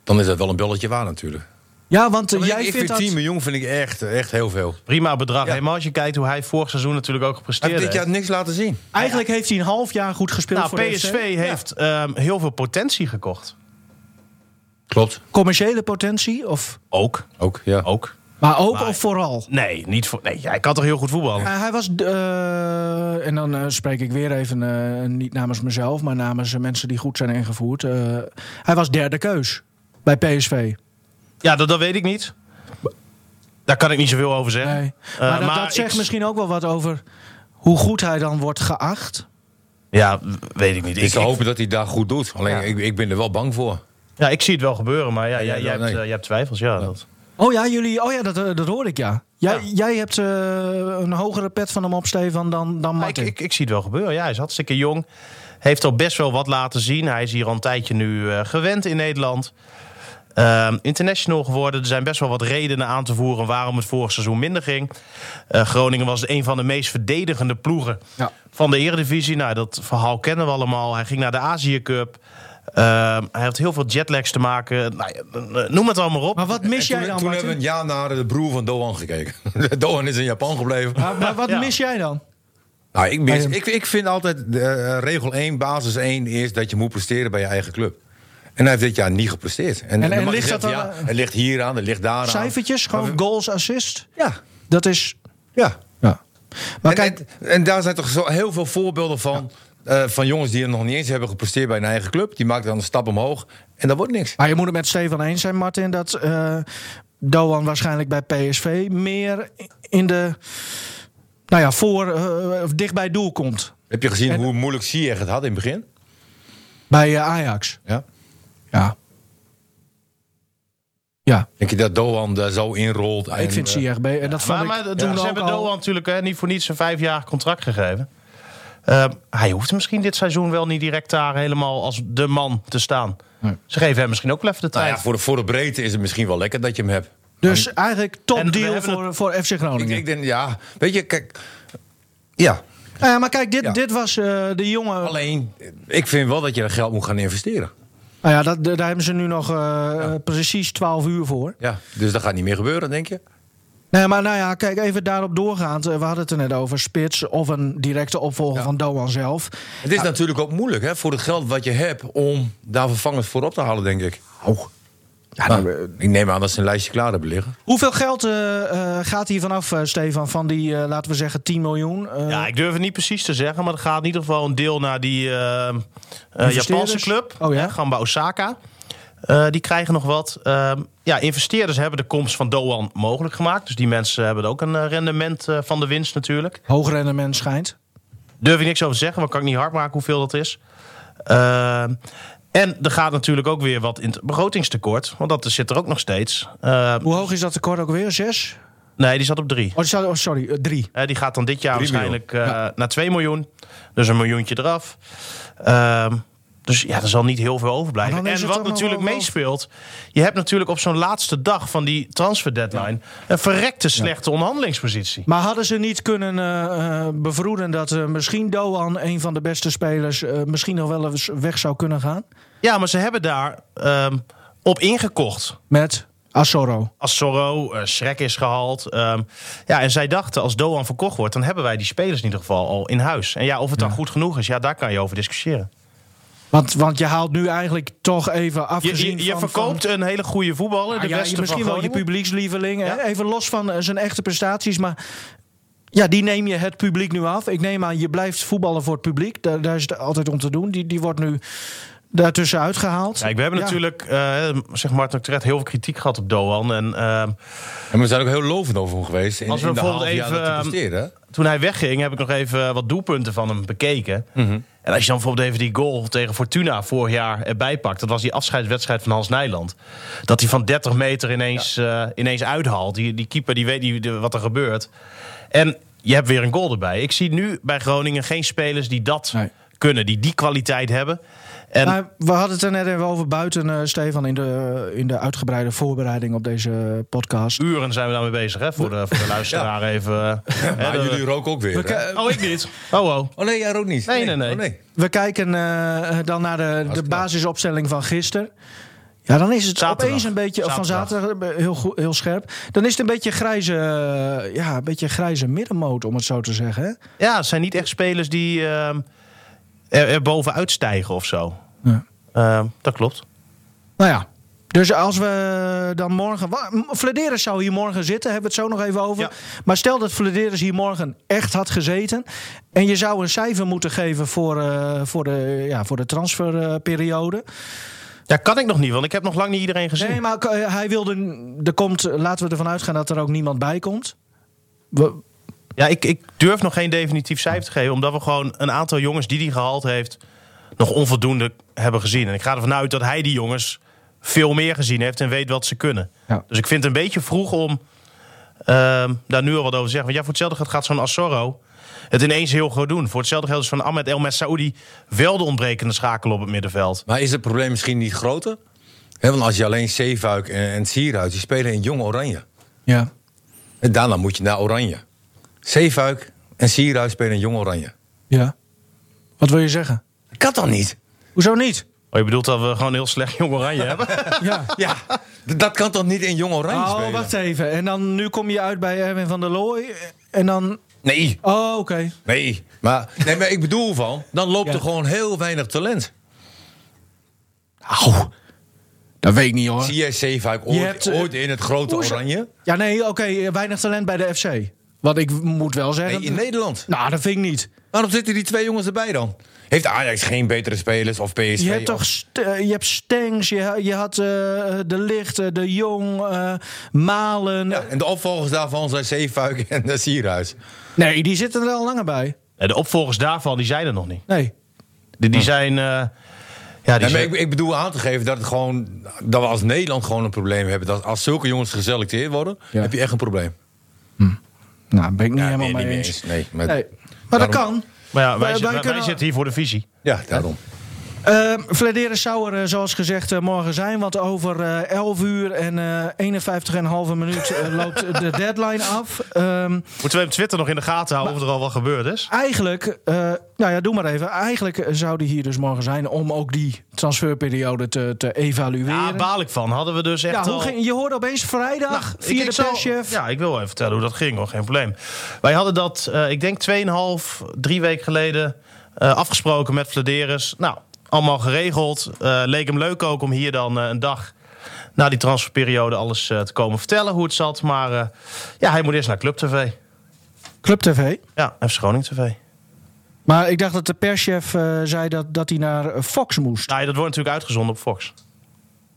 B: dan is dat wel een bulletje waar natuurlijk.
A: Ja, want eh,
B: Maar
A: jij
B: ik, ik
A: vindt
B: vind
A: dat...
B: 10 miljoen vind ik echt, echt heel veel.
D: Prima bedrag.
B: Ja.
D: Helemaal als je kijkt hoe hij vorig seizoen natuurlijk ook
B: Hij heeft
D: gepresteerd
B: dit jaar
D: heeft.
B: niks laten zien.
A: Eigenlijk heeft hij een half jaar goed gespeeld
D: Nou,
A: voor de FC.
D: PSV heeft ehm, heel veel potentie gekocht.
B: Klopt. Oh,
A: Commerciële potentie of...
D: Ook.
B: Ook, ja.
D: Ook.
A: Maar ook
D: Maar-
A: of vooral?
D: Nee, niet voor, nee, hij kan toch heel goed voetballen?
A: Eh, hij was, eh, en dan eh, spreek ik weer even, eh, niet namens mezelf, maar namens eh, mensen die goed zijn ingevoerd. eh, hij was derde keus bij PSV.
D: Ja, dat, dat weet ik niet. Daar kan ik niet zoveel over zeggen.
A: Nee.
D: Eh,
A: maar dat, dat
D: ik-
A: zegt misschien ook wel wat over hoe goed hij dan wordt geacht.
D: Ja, w- weet ik niet.
B: Ik
D: Ik,
B: zou
D: ik,
B: hopen dat hij daar goed doet. Alleen, ik, ik ben er wel bang voor.
D: ja, ik zie het wel gebeuren, maar ja, jij,
B: ja,
D: jij, hebt,
B: nee.
D: eh, jij hebt twijfels. Ja, Dat.
A: Oh ja, jullie, oh ja dat, eh, dat hoor ik ja. Jij,
D: Ja.
A: jij hebt eh, een hogere pet van hem op, Stefan, dan, dan
D: Maar ik,
A: Martin.
D: ik, ik zie het wel gebeuren. Ja, hij is hartstikke jong. Heeft al best wel wat laten zien. Hij is hier al een tijdje nu eh, gewend in Nederland. Ehm, international geworden. Er zijn best wel wat redenen aan te voeren waarom het vorig seizoen minder ging. Eh, Groningen was een van de meest verdedigende ploegen
A: Ja.
D: van de Eredivisie. Nou, dat verhaal kennen we allemaal. Hij ging naar de Azië Cup. Ehm, hij heeft heel veel jetlags te maken. Nou, ja, noem het allemaal op.
A: Maar wat mis jij
B: toen
A: dan,
B: toen
A: Martin?
B: hebben we een jaar naar de broer van Doan gekeken. [laughs] Doan is in Japan gebleven.
A: Maar, maar wat
D: Ja.
A: mis jij dan?
B: Nou, ik, mis-
A: Maar-
B: ik, ik vind altijd de, eh, regel 1, basis 1 is dat je moet presteren bij je eigen club. En hij heeft dit jaar niet gepresteerd.
A: en
B: dan mag je
A: ligt
B: zeggen,
A: dat dan,
B: Ja,
A: eh,
B: het ligt hier aan, het ligt daar aan.
A: Cijfertjes, gewoon goals, assist.
B: Ja,
A: Dat is...
B: ja.
A: Ja. Maar
B: en,
A: kijk,
B: en, en daar zijn toch zo heel veel voorbeelden van. eh, van jongens die er nog niet eens hebben gepresteerd bij hun eigen club. Die maken dan een stap omhoog en dat wordt niks.
A: Maar je moet het met Stefan eens zijn, Martin, dat eh, Doan waarschijnlijk bij PSV meer in de. Nou ja, voor. eh, of dicht bij het doel komt.
B: Heb je gezien hoe moeilijk Ziyech het had in het begin?
A: Bij eh, Ajax.
B: Ja.
A: Ja. Ja,
B: Denk je dat Doan daar zo inrolt? eh,
A: ik vind
B: Ziyech.
A: CRB. En dat
D: eh, Maar,
A: vond
D: maar
A: ik
D: toen
A: toen
D: ze
A: ook
D: hebben
A: al-
D: Doan natuurlijk hè, niet voor niets een vijfjarig contract gegeven. Ehm, hij hoeft misschien dit seizoen wel niet direct daar helemaal als de man te staan.
A: Nee.
D: Ze geven hem misschien ook wel even de
B: Nou
D: tijd.
B: ja, voor de, voor de breedte is het misschien wel lekker dat je hem hebt.
A: Dus eigenlijk
D: En we
A: top deal
D: hebben
A: voor, voor FC Groningen.
B: Ik, ik denk, ja, weet je, kijk. Ja,
A: Nou ja, maar kijk, dit,
B: Ja.
A: dit was eh, de jongen.
B: alleen, ik vind wel dat je dat geld moet gaan investeren.
A: Nou ja, dat, daar hebben ze nu nog eh, precies 12 uur voor.
B: Ja, dus dat gaat niet meer gebeuren, denk je?
A: Nee, maar nou ja, kijk even daarop doorgaand. Eh, We hadden het er net over spits of een directe opvolger van Doan zelf.
B: Het is
D: Ah.
B: natuurlijk ook moeilijk hè, voor het geld wat je hebt om daar vervangers voor op te halen, denk ik. Oh. Ja, nou, ik neem aan dat ze een lijstje klaar hebben liggen.
A: Hoeveel geld eh, eh, gaat hier vanaf, eh, Stefan? Van die, eh, laten we zeggen, 10 miljoen? Eh,
D: Ja, ik durf het niet precies te zeggen, maar er gaat in ieder geval een deel naar die eh, eh,
A: Investeerders?
D: Japanse club,
A: Oh ja?
D: hè, Gamba Osaka. Eh, die krijgen nog wat. Eh, ja, investeerders hebben de komst van Doan mogelijk gemaakt. Dus die mensen hebben ook een eh, rendement eh, van de winst natuurlijk.
A: Hoog rendement schijnt.
D: Durf ik niks over te zeggen, want kan ik niet hard maken hoeveel dat is. Eh, en er gaat natuurlijk ook weer wat in het begrotingstekort, want dat zit er ook nog steeds. Eh,
A: Hoe hoog is dat tekort ook weer? Zes?
D: nee, die zat op drie.
A: Oh, die staat- oh, sorry, eh, drie.
D: Eh, die gaat dan dit jaar
B: Drie
D: waarschijnlijk eh, naar 2 miljoen. Dus een miljoentje eraf. Ehm, dus ja, er zal niet heel veel
A: Maar
D: overblijven.
A: dan is
D: En
A: het
D: wat
A: toch nog
D: natuurlijk
A: wel-
D: meespeelt... je hebt natuurlijk op zo'n laatste dag van die transfer deadline... een verrekte slechte onderhandelingspositie.
A: Maar hadden ze niet kunnen eh, eh, bevroeden dat eh, misschien Doan, een van de beste spelers, eh, misschien nog wel eens weg zou kunnen gaan?
D: Ja, maar ze hebben daar ehm, op ingekocht.
A: Met Asoro.
D: Als Sorro, eh Schrek is gehaald. ehm, ja, en zij dachten, als Doan verkocht wordt... dan hebben wij die spelers in ieder geval al in huis. En ja, of het dan goed genoeg is, ja, daar kan je over discussiëren.
A: Want, want je haalt nu eigenlijk toch even
D: Je,
A: afgezien
D: je, je
A: van-
D: verkoopt een hele goede voetballer.
A: van,
D: de
A: Ah ja,
D: beste van
A: misschien wel je
D: Groningen.
A: publiekslieveling. hè.
D: Ja.
A: Even los van eh, zijn echte prestaties, maar... Ja, die neem je het publiek nu af. Ik neem aan, je blijft voetballen voor het publiek. Daar, daar is het altijd om te doen. Die, die wordt nu daartussen uitgehaald.
D: Kijk, we hebben natuurlijk, eh zeg Martin ook terecht, heel veel kritiek gehad op Doan. En eh,
B: En we zijn ook heel lovend over hem geweest. In,
D: Als we
B: in de
D: bijvoorbeeld
B: half jaar
D: even,
B: dat hij
D: ehm,
B: presteerde, hè?
D: toen hij wegging, heb ik nog even wat doelpunten van hem bekeken. En als je dan bijvoorbeeld even die goal tegen Fortuna vorig jaar erbij pakt. Dat was die afscheidswedstrijd van Hans Nijland. Dat hij van 30 meter ineens, eh, ineens uithaalt. Die, die keeper die weet niet wat er gebeurt. En je hebt weer een goal erbij. Ik zie nu bij Groningen geen spelers die dat
A: Nee. Nou,
D: kunnen. Die die kwaliteit hebben. En
A: Maar we hadden het er net even over buiten, eh, Stefan, in de, in de uitgebreide voorbereiding op deze podcast.
D: uren zijn we daarmee bezig, hè? Voor de, voor de luisteraar even. eh, hè,
B: Maar
D: dat-
B: jullie roken ook weer. hè?
D: Oh, ik niet. [laughs] Oh, oh.
B: Oh nee, jij rookt niet.
D: Nee, nee, nee.
B: Oh, nee.
A: We kijken eh, dan naar de, de
B: knap.
A: basisopstelling van gisteren. Ja, dan is het
D: Zaterdag.
A: opeens een beetje of van
D: Zaterdag.
A: zaterdag eh, heel, goed- heel scherp. Dan is het een beetje grijze, eh, ja, een beetje grijze middenmoot, om het zo te zeggen. hè?
D: Ja, het zijn niet echt spelers die ehm, er, er bovenuit stijgen of zo.
A: Ja.
D: Ehm, dat klopt.
A: Nou ja. Dus als we dan morgen. wa- M- Flederis zou hier morgen zitten, hebben we het zo nog even over.
D: Ja.
A: Maar stel dat Flederis hier morgen echt had gezeten. En je zou een cijfer moeten geven voor, eh, voor, de, ja, voor de transferperiode.
D: Ja, kan ik nog niet, want ik heb nog lang niet iedereen gezien.
A: Nee, maar k- eh, hij wilde. n- Er komt, laten we ervan uitgaan dat er ook niemand bij komt. We-
D: Ja, ik, ik durf nog geen definitief cijfer te geven, omdat we gewoon een aantal jongens die hij gehaald heeft nog onvoldoende hebben gezien. En ik ga ervan uit dat hij die jongens veel meer gezien heeft en weet wat ze kunnen.
A: Ja.
D: Dus ik vind het een beetje vroeg om ehm, daar nu al wat over te zeggen. Want ja, voor hetzelfde geld gaat zo'n Assoro het ineens heel goed doen. Voor hetzelfde geld is van Ahmed El Saoudi wel de ontbrekende schakel op het middenveld.
B: Maar is het probleem misschien niet groter? Hè, want als je alleen Zeefuik en, en Sierhuis, die spelen in Jong Oranje.
A: ja.
B: En daarna moet je naar Oranje. Zeefuik en Sierhuis spelen in Jong Oranje.
A: ja. Wat wil je zeggen?
B: Dat kan dan niet?
A: Hoezo niet?
D: Oh, je bedoelt dat we gewoon heel slecht jong oranje hebben?
A: [laughs] Ja.
B: Ja, d- dat kan toch niet in Jong Oranje
A: Oh,
B: spelen?
A: wacht even. En dan nu kom je uit bij Erwin van der Looy. eh, En dan.
B: Nee,
A: Oh, oké.
B: nee. Maar, nee, maar ik bedoel van, dan loopt
A: Ja.
B: er gewoon heel weinig talent.
A: Au. Dat weet ik niet hoor.
B: Zie jij Zeefuik ooit,
A: Je hebt, eh,
B: ooit in het grote
A: hoezo-
B: Oranje?
A: Ja, nee, oké, eh, weinig talent bij de FC. Wat ik w- moet wel zeggen.
B: Nee, in Nederland.
A: Nou, dat vind ik niet.
B: Waarom zitten die twee jongens erbij dan? Heeft Ajax geen betere spelers of PSV?
A: Je hebt
B: of-
A: toch st- eh, je hebt Stengs, je, ha- je had eh, De Licht, eh, De Jong, eh, Malen.
B: Ja, en de opvolgers daarvan zijn Zeefuik [laughs] en eh, Sierhuis.
A: Nee, die zitten er al langer bij.
D: Eh, De opvolgers daarvan die zijn er nog niet.
A: Nee.
D: Die, die zijn. eh, ja, die
B: Nee, maar
D: zijn-
B: ik, ik bedoel aan te geven dat, het gewoon, dat we als Nederland gewoon een probleem hebben. Dat als zulke jongens geselecteerd worden,
A: Ja.
B: heb je echt een probleem.
A: Nou, ben ik niet
B: Ja,
A: helemaal
B: nee,
A: mee
B: niet
A: eens.
B: mee eens. Nee, maar-
A: Nee. Maar dat
B: Daarom-
A: kan.
D: maar ja, wij,
A: wij
D: zitten- wij
A: kunnen-
D: zitten hier voor de visie.
B: Ja, daarom.
A: Uh, Vladeris zou er, eh, zoals gezegd, eh, morgen zijn. Want over eh 11 uur en eh 51,5 minuut eh, [laughs] loopt de deadline af. Ehm,
D: Moeten we op Twitter nog in de gaten houden of er al wat gebeurd is?
A: eigenlijk, eh, nou ja, doe maar even. Eigenlijk zou die hier dus morgen zijn om ook die transferperiode te, te evalueren.
D: Ja, baal ik van. Hadden we dus echt
A: Ja, hoe
D: al...
A: ging- je hoorde opeens vrijdag
D: Nou, ik-
A: via
D: ik
A: de
D: zal-
A: perschef.
D: Ja, ik wil even vertellen hoe dat ging hoor, geen probleem. Wij hadden dat, eh, ik denk 2,5, drie weken geleden eh, afgesproken met Vladeris. Nou, allemaal geregeld. Eh, leek hem leuk ook om hier dan eh, een dag na die transferperiode alles eh, te komen vertellen hoe het zat. Maar eh, ja, hij moet eerst naar Club TV.
A: Club TV.
D: Ja, FC Groningen TV.
A: Maar ik dacht dat de perschef eh, zei dat, dat hij naar eh, Fox moest.
D: Nou, ja, dat wordt natuurlijk uitgezonden op Fox.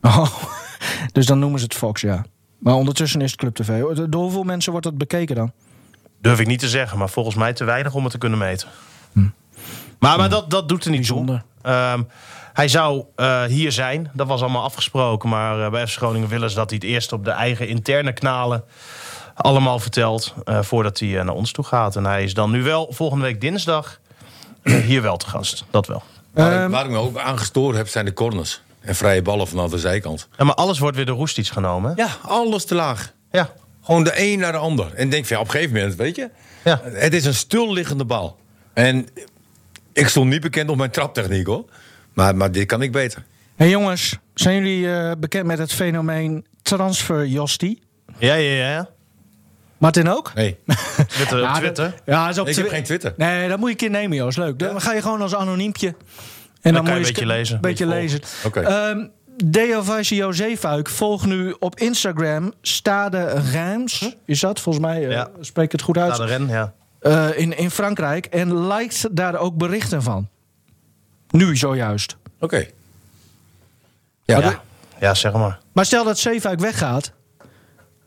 A: Oh, [laughs] dus dan noemen ze het Fox, ja. Maar ondertussen is het Club TV. Door hoeveel mensen wordt dat bekeken dan?
D: Durf ik niet te zeggen, maar volgens mij te weinig om het te kunnen meten. Hm. Maar, maar dat, dat doet er niet
A: Bijzonder.
D: toe. Ehm, hij zou eh, hier zijn, dat was allemaal afgesproken. Maar eh, bij FC Groningen willen ze dat hij het eerst op de eigen interne kanalen allemaal vertelt. eh, voordat hij eh, naar ons toe gaat. En hij is dan nu wel volgende week dinsdag eh, hier wel te gast. Dat wel.
B: Waar, ik-
A: Ehm,
B: waar ik me ook aan gestoord heb, zijn de corners. En vrije ballen vanaf de zijkant.
D: Ja, maar alles wordt weer door Roestic genomen. hè?
B: Ja, alles te laag.
D: Ja.
B: Gewoon de een naar de ander. En ik denk van ja, op een gegeven moment, weet je.
D: Ja.
B: Het is een stilliggende bal. En ik stond niet bekend op mijn traptechniek hoor. Maar, maar dit kan ik beter.
A: Hey jongens, zijn jullie eh, bekend met het fenomeen transfer Josti?
D: Ja, ja, ja. ja.
A: Martin ook?
B: [laughs] Nee,
D: Twitter, op eh, Twitter.
A: dat- ja, is op
B: ik heb
A: Twi-
B: geen Twitter.
A: Nee, dat moet je een keer nemen, Joost. Leuk. Dan ga je gewoon als anoniempje. En dan,
D: kan je
A: eens
D: een beetje
A: k-
D: lezen.
A: beetje
D: Beetje
A: lezen.
B: Oké.
A: Ehm, Deo Vaisje Jozefuik volgt nu op Instagram Stade Reims. Is dat volgens mij? eh,
D: Ja.
A: Spreek ik het goed uit.
D: Na de ren, ja.
A: Eh, in, in Frankrijk. En liked daar ook berichten van. Nu zojuist.
B: Oké. Ja,
D: ja. Ja, zeg maar.
A: Maar stel dat Zeefuik weggaat.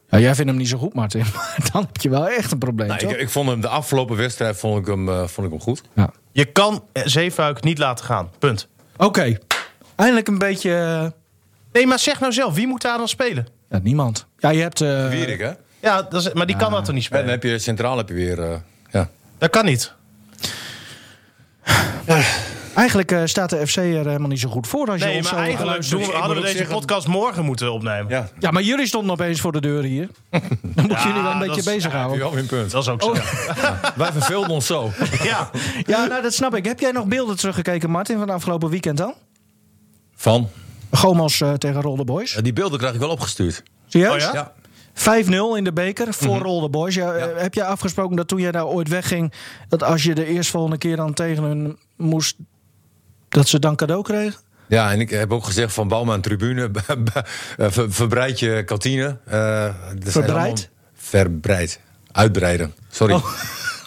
A: Nou, jij vindt hem niet zo goed, Martin. [laughs] Maar dan heb je wel echt een probleem,
B: Nou,
A: toch?
B: ik, ik vond hem de afgelopen wedstrijd vond ik hem, eh, vond ik hem goed.
A: Ja.
D: Je kan eh, Zeefuik niet laten gaan. Punt.
A: Oké. Eindelijk een beetje... eh,
D: Nee, maar zeg nou zelf, wie moet daar dan spelen?
A: ja, niemand. Ja, je hebt... eh,
B: Wierik, hè? En
D: Ja, dat is, maar die kan dat toch niet
B: dan
D: spelen?
B: heb je centraal heb je weer. eh, ja.
D: Dat kan niet.
A: eigenlijk eh, staat de FC er helemaal niet zo goed voor als je
D: Nee,
A: ons
D: maar
A: zo
D: eigenlijk
A: geluisterd-
D: doen we,
B: ik
D: hadden we
B: moet ook
D: deze
B: zeggen-
D: podcast morgen moeten opnemen.
B: ja.
A: Ja, maar jullie stonden opeens voor de deur hier. [laughs] Dan moeten jullie wel een
D: dat
A: beetje
D: is-
B: Heb je
A: bezighouden.
B: wel weer een punt.
D: Dat is ook zo.
B: Wij verveelden ons zo.
D: Ja.
A: Ja, nou, dat snap ik. Heb jij nog beelden teruggekeken, Martin, van afgelopen weekend dan?
B: Van?
A: Gomos eh, tegen Rolde Boys.
B: Ja, die beelden krijg ik wel opgestuurd.
A: Serieus?
D: Oh ja?
A: 5-0 in de beker voor
B: Mhm.
A: Rolde Boys. Ja, eh, Heb jij afgesproken dat toen jij daar ooit wegging... dat als je de eerstvolgende keer dan tegen hun moest... dat ze dan cadeau
B: [laughs]
A: kregen?
B: Ja, en ik heb ook gezegd van bouw maar een tribune, [laughs] eh, ver- verbreid je kantine. eh, er zijn
A: Verbreid? Oh,
B: allemaal- Verbreid. Uitbreiden. Sorry.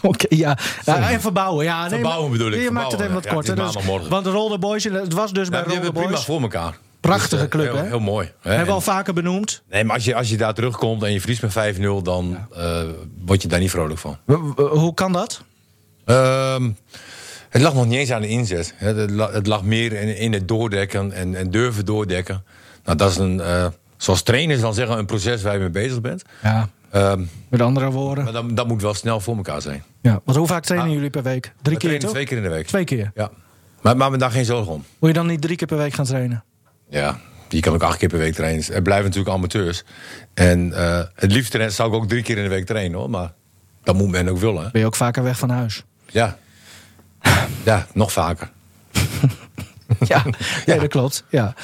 A: Oké, ja. Ja, En verbouwen, ja. Nee,
B: Verbouwen
A: maar-
B: bedoel ik,
A: Je maakt het
B: verbouwen,
A: even wat
B: ja. Ja, het
A: korter.
B: is
A: dus-
B: maandagmorgen.
A: want Rolde Boys, het was dus
B: Ja,
A: bij
B: die
A: Rolde
B: hebben het prima
A: Boys.
B: voor elkaar.
A: Prachtige
B: eh,
A: club,
B: heel,
A: hè?
B: Heel mooi. Hè?
A: Hebben we al
B: En-
A: vaker benoemd.
B: nee, maar als je, als je daar terugkomt en je verliest met 5-0, dan eh, word je daar niet vrolijk van.
A: W- w- Eh, Hoe kan dat?
B: Ehm, het lag nog niet eens aan de inzet. Het, het la- het lag meer in, in het doordekken en, en durven doordekken. Nou, dat is een, eh, zoals trainers dan zeggen, een proces waar je mee bezig bent.
A: Ja,
B: Ehm,
A: met andere woorden.
B: maar dat, dat moet wel snel voor elkaar zijn.
A: Ja, want hoe vaak trainen jullie per week? Drie
B: Ah. We
A: keer,
B: trainen
A: toch?
B: twee keer in de week.
A: Twee keer.
B: Ja. Maar maak me daar geen zorgen om.
A: Moet je dan niet drie keer per week gaan trainen?
B: Ja, je kan ook acht keer per week trainen. Er blijven natuurlijk amateurs. En eh, het liefst trainen- zou ik ook drie keer in de week trainen hoor. Maar dat moet men ook willen. hè.
A: Ben je ook vaker weg van huis?
B: Ja. Ja, nog vaker.
A: [laughs] Ja, nee, dat klopt. Ja.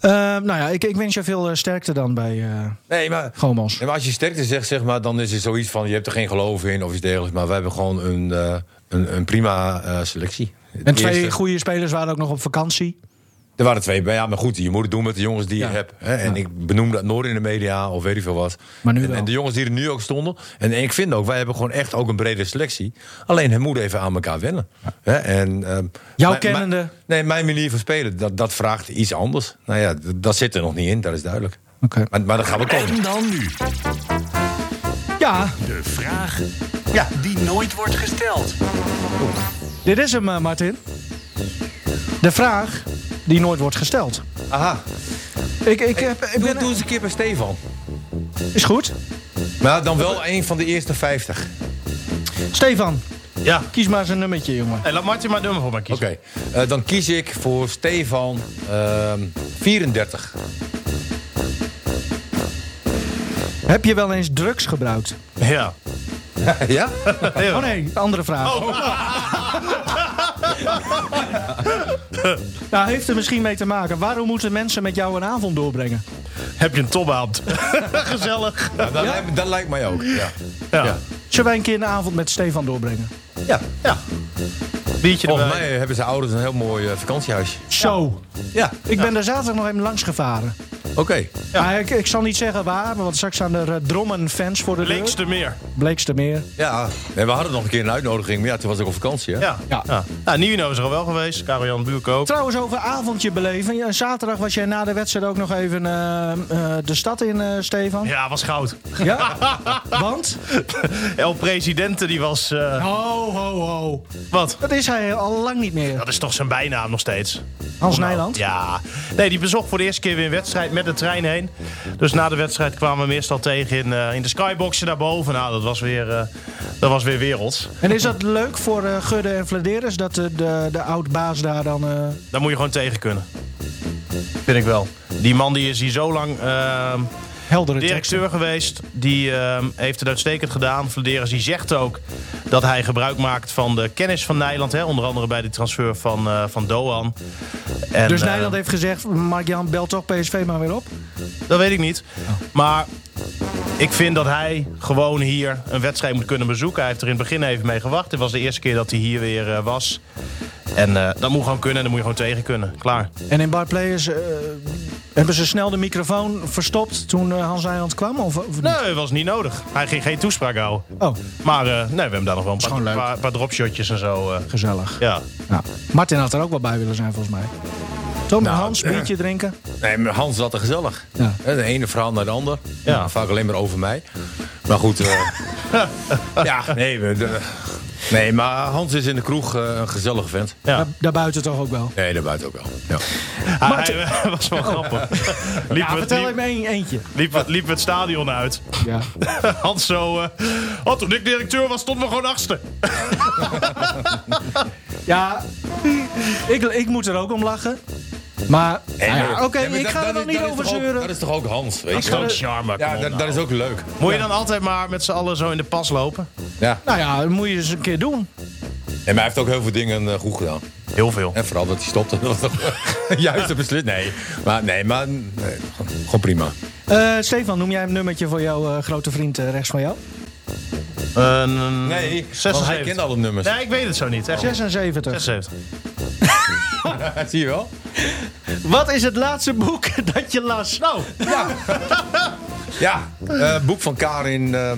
A: Ehm, nou ja, ik, ik wens je veel eh, sterkte dan bij eh
B: Nee, maar
A: Gomos.
B: Ja, maar als je sterkte zegt, zeg maar, dan is het zoiets van... je hebt er geen geloof in of iets dergelijks. Maar we hebben gewoon een, eh, een, een prima eh, selectie.
A: En
B: Het
A: twee
B: eerste-
A: goede spelers waren ook nog op vakantie.
B: Er waren twee. Maar ja, maar goed, je moet het doen met de jongens die
A: Ja.
B: je hebt. Hè? En ik benoem dat nooit in de media of weet ik veel wat.
A: Maar nu
B: en,
A: wel.
B: en de jongens die er nu ook stonden. En, en ik vind ook, wij hebben gewoon echt ook een brede selectie. Alleen het moet even aan elkaar wennen. Hè? En, ehm, mijn-
A: kennende.
B: mijn- nee, mijn manier van spelen, dat, dat vraagt iets anders. Nou ja, d- dat zit er nog niet in, dat is duidelijk.
A: Oké.
B: Maar, maar dat gaan we komen.
C: En dan nu
A: Ja,
C: de vraag
D: Ja.
C: die nooit wordt gesteld.
A: dit is hem, eh, Martin. De vraag die nooit wordt gesteld.
B: Aha,
A: Ik, ik, heb, ik
B: doe,
A: ben,
B: doe eens een keer bij Stefan.
A: is goed.
B: Maar dan wel een van de eerste 50.
A: Stefan,
D: Ja.
A: Kies maar eens een nummertje, jongen.
D: Hey, laat Martin maar nummer voor mij
B: Oké,
D: kiezen.
B: eh, dan kies ik voor Stefan ehm 34.
A: Heb je wel eens drugs gebruikt?
D: Ja.
B: ja?
D: Heel.
A: Oh nee, andere vraag. nou, heeft er misschien mee te maken. Waarom moeten mensen met jou een avond doorbrengen?
D: Heb je een topavond? Gezellig.
B: Nou, dat, Lijkt, me- dat lijkt mij ook. Ja.
D: Ja.
B: Ja.
A: Zullen wij een keer een avond met Stefan doorbrengen?
B: ja.
D: Biertje erbij.
B: Volgens mij eh, hebben zijn ouders een heel mooi eh, vakantiehuisje.
A: Zo.
B: Ja,
A: Ik ben daar zaterdag nog even langs gevaren.
B: oké.
A: Maar ik, ik zal niet zeggen waar, want straks staan er eh, drommen fans voor de deur.
D: Links de meer.
A: Bleekstermeer.
B: Ja, nee, we hadden nog een keer een uitnodiging, maar ja, toen was ik op vakantie. Hè?
D: Ja.
A: Ja.
D: ja. Nou, Nino is er al wel geweest. Karel-Jan Buurk ook.
A: Trouwens, over avondje beleven. Ja, zaterdag was jij na de wedstrijd ook nog even eh, eh, de stad in, eh, Stefan.
D: Ja, was goud.
A: Ja? Want?
D: El Presidente, die was... eh,
A: Ho, ho, ho.
D: wat?
A: Dat is hij al lang niet meer.
D: Dat is toch zijn bijnaam nog steeds?
A: Hans Nijland.
D: Nou, Ja. Nee, die bezocht voor de eerste keer weer een wedstrijd met de trein heen. Dus na de wedstrijd kwamen we meestal tegen in, eh, in de skyboxen daarboven. Nou, dat was weer, eh, dat was weer werelds.
A: En is dat leuk voor eh Gudde en Vladeres dat eh, de, de oud-baas daar dan... eh,
D: Daar moet je gewoon tegen kunnen. Vind ik wel. Die man die is hier zo lang ehm,
A: heldere tekst...
D: directeur geweest. Die ehm, heeft het uitstekend gedaan. Vladeris die zegt ook dat hij gebruik maakt van de kennis van Nijland. Hè, onder andere bij de transfer van, eh, van Doan. En,
A: Dus
D: eh,
A: Nijland heeft gezegd, Mark-Jan, bel toch PSV maar weer op.
D: Dat weet ik niet. Maar ik vind dat hij gewoon hier een wedstrijd moet kunnen bezoeken. Hij heeft er in het begin even mee gewacht. Het was de eerste keer dat hij hier weer eh, was. En eh, dat moet gewoon kunnen en dat moet je gewoon tegen kunnen. Klaar.
A: En in Bar Players eh, hebben ze snel de microfoon verstopt toen eh, Hans Nijland kwam? Of, of
B: Nou.
A: niet?
D: Nee, dat was niet nodig. Hij ging geen toespraak houden.
A: Oh,
D: Maar eh, nee, we hebben daar nog wel een
A: gewoon
D: paar,
A: leuk.
D: paar, paar dropshotjes en zo. eh,
A: gezellig.
D: ja.
A: Nou, Martin had er ook wel bij willen zijn, volgens mij. Tom
B: Nou,
A: Hans, biertje drinken.
B: Nee, maar Hans zat er gezellig.
A: Ja.
B: Hè, De ene verhaal naar de ander. Nou,
D: Ja.
B: Vaak alleen maar over mij. Maar
A: [laughs]
B: goed. eh, ja, nee, we- de- nee, maar Hans is in de kroeg eh, een gezellige vent.
D: ja.
A: Daar- Daarbuiten toch ook wel.
B: Nee, daarbuiten ook wel.
A: Ah,
B: Ja.
D: Maar hij eh, [laughs] was wel grappig. Liepen
A: Ja,
D: we het-
A: vertel
D: [laughs] liep-
A: hem een, eentje.
D: liepen we- liepen we het stadion uit. [laughs]
A: Ja.
D: Hans zo... eh, oh, toen ik directeur was, stond we gewoon achtste.
A: Ja, ik, ik moet er ook om lachen. Maar, nou ja, oké,
B: Nee, Eh, maar
A: ik
B: dat-
A: ga er
B: dat
A: nog
B: is-
A: niet
B: dat is
A: over
B: toch ook-
A: zeuren.
B: Dat is toch ook Hans, weet
D: Dat is
B: je wel?
D: gewoon charme.
B: Ja,
D: come on
B: dat,
D: nou.
B: dat is ook leuk.
D: Moet je dan altijd maar met z'n allen zo in de pas lopen?
B: Ja.
A: Nou ja, dat moet je eens een keer doen.
B: En hij heeft ook heel veel dingen eh, goed gedaan.
D: Heel veel.
B: En vooral dat hij [laughs] stopte. Dat was toch juist op besluit. Nee, maar, nee, maar nee, gewoon prima.
A: Eh, Stefan, noem jij een nummertje voor jouw eh, grote vriend eh, rechts van jou? Eh,
B: Nee, want hij
D: 76.
B: kent alle nummers.
D: Nee, ik weet het zo niet. Echt.
A: Oh. 76.
D: 76.
B: [laughs] Zie je wel?
A: Wat is het laatste boek [laughs] dat je las? Nou,
B: [laughs] Ja, eh, boek van Karin, eh,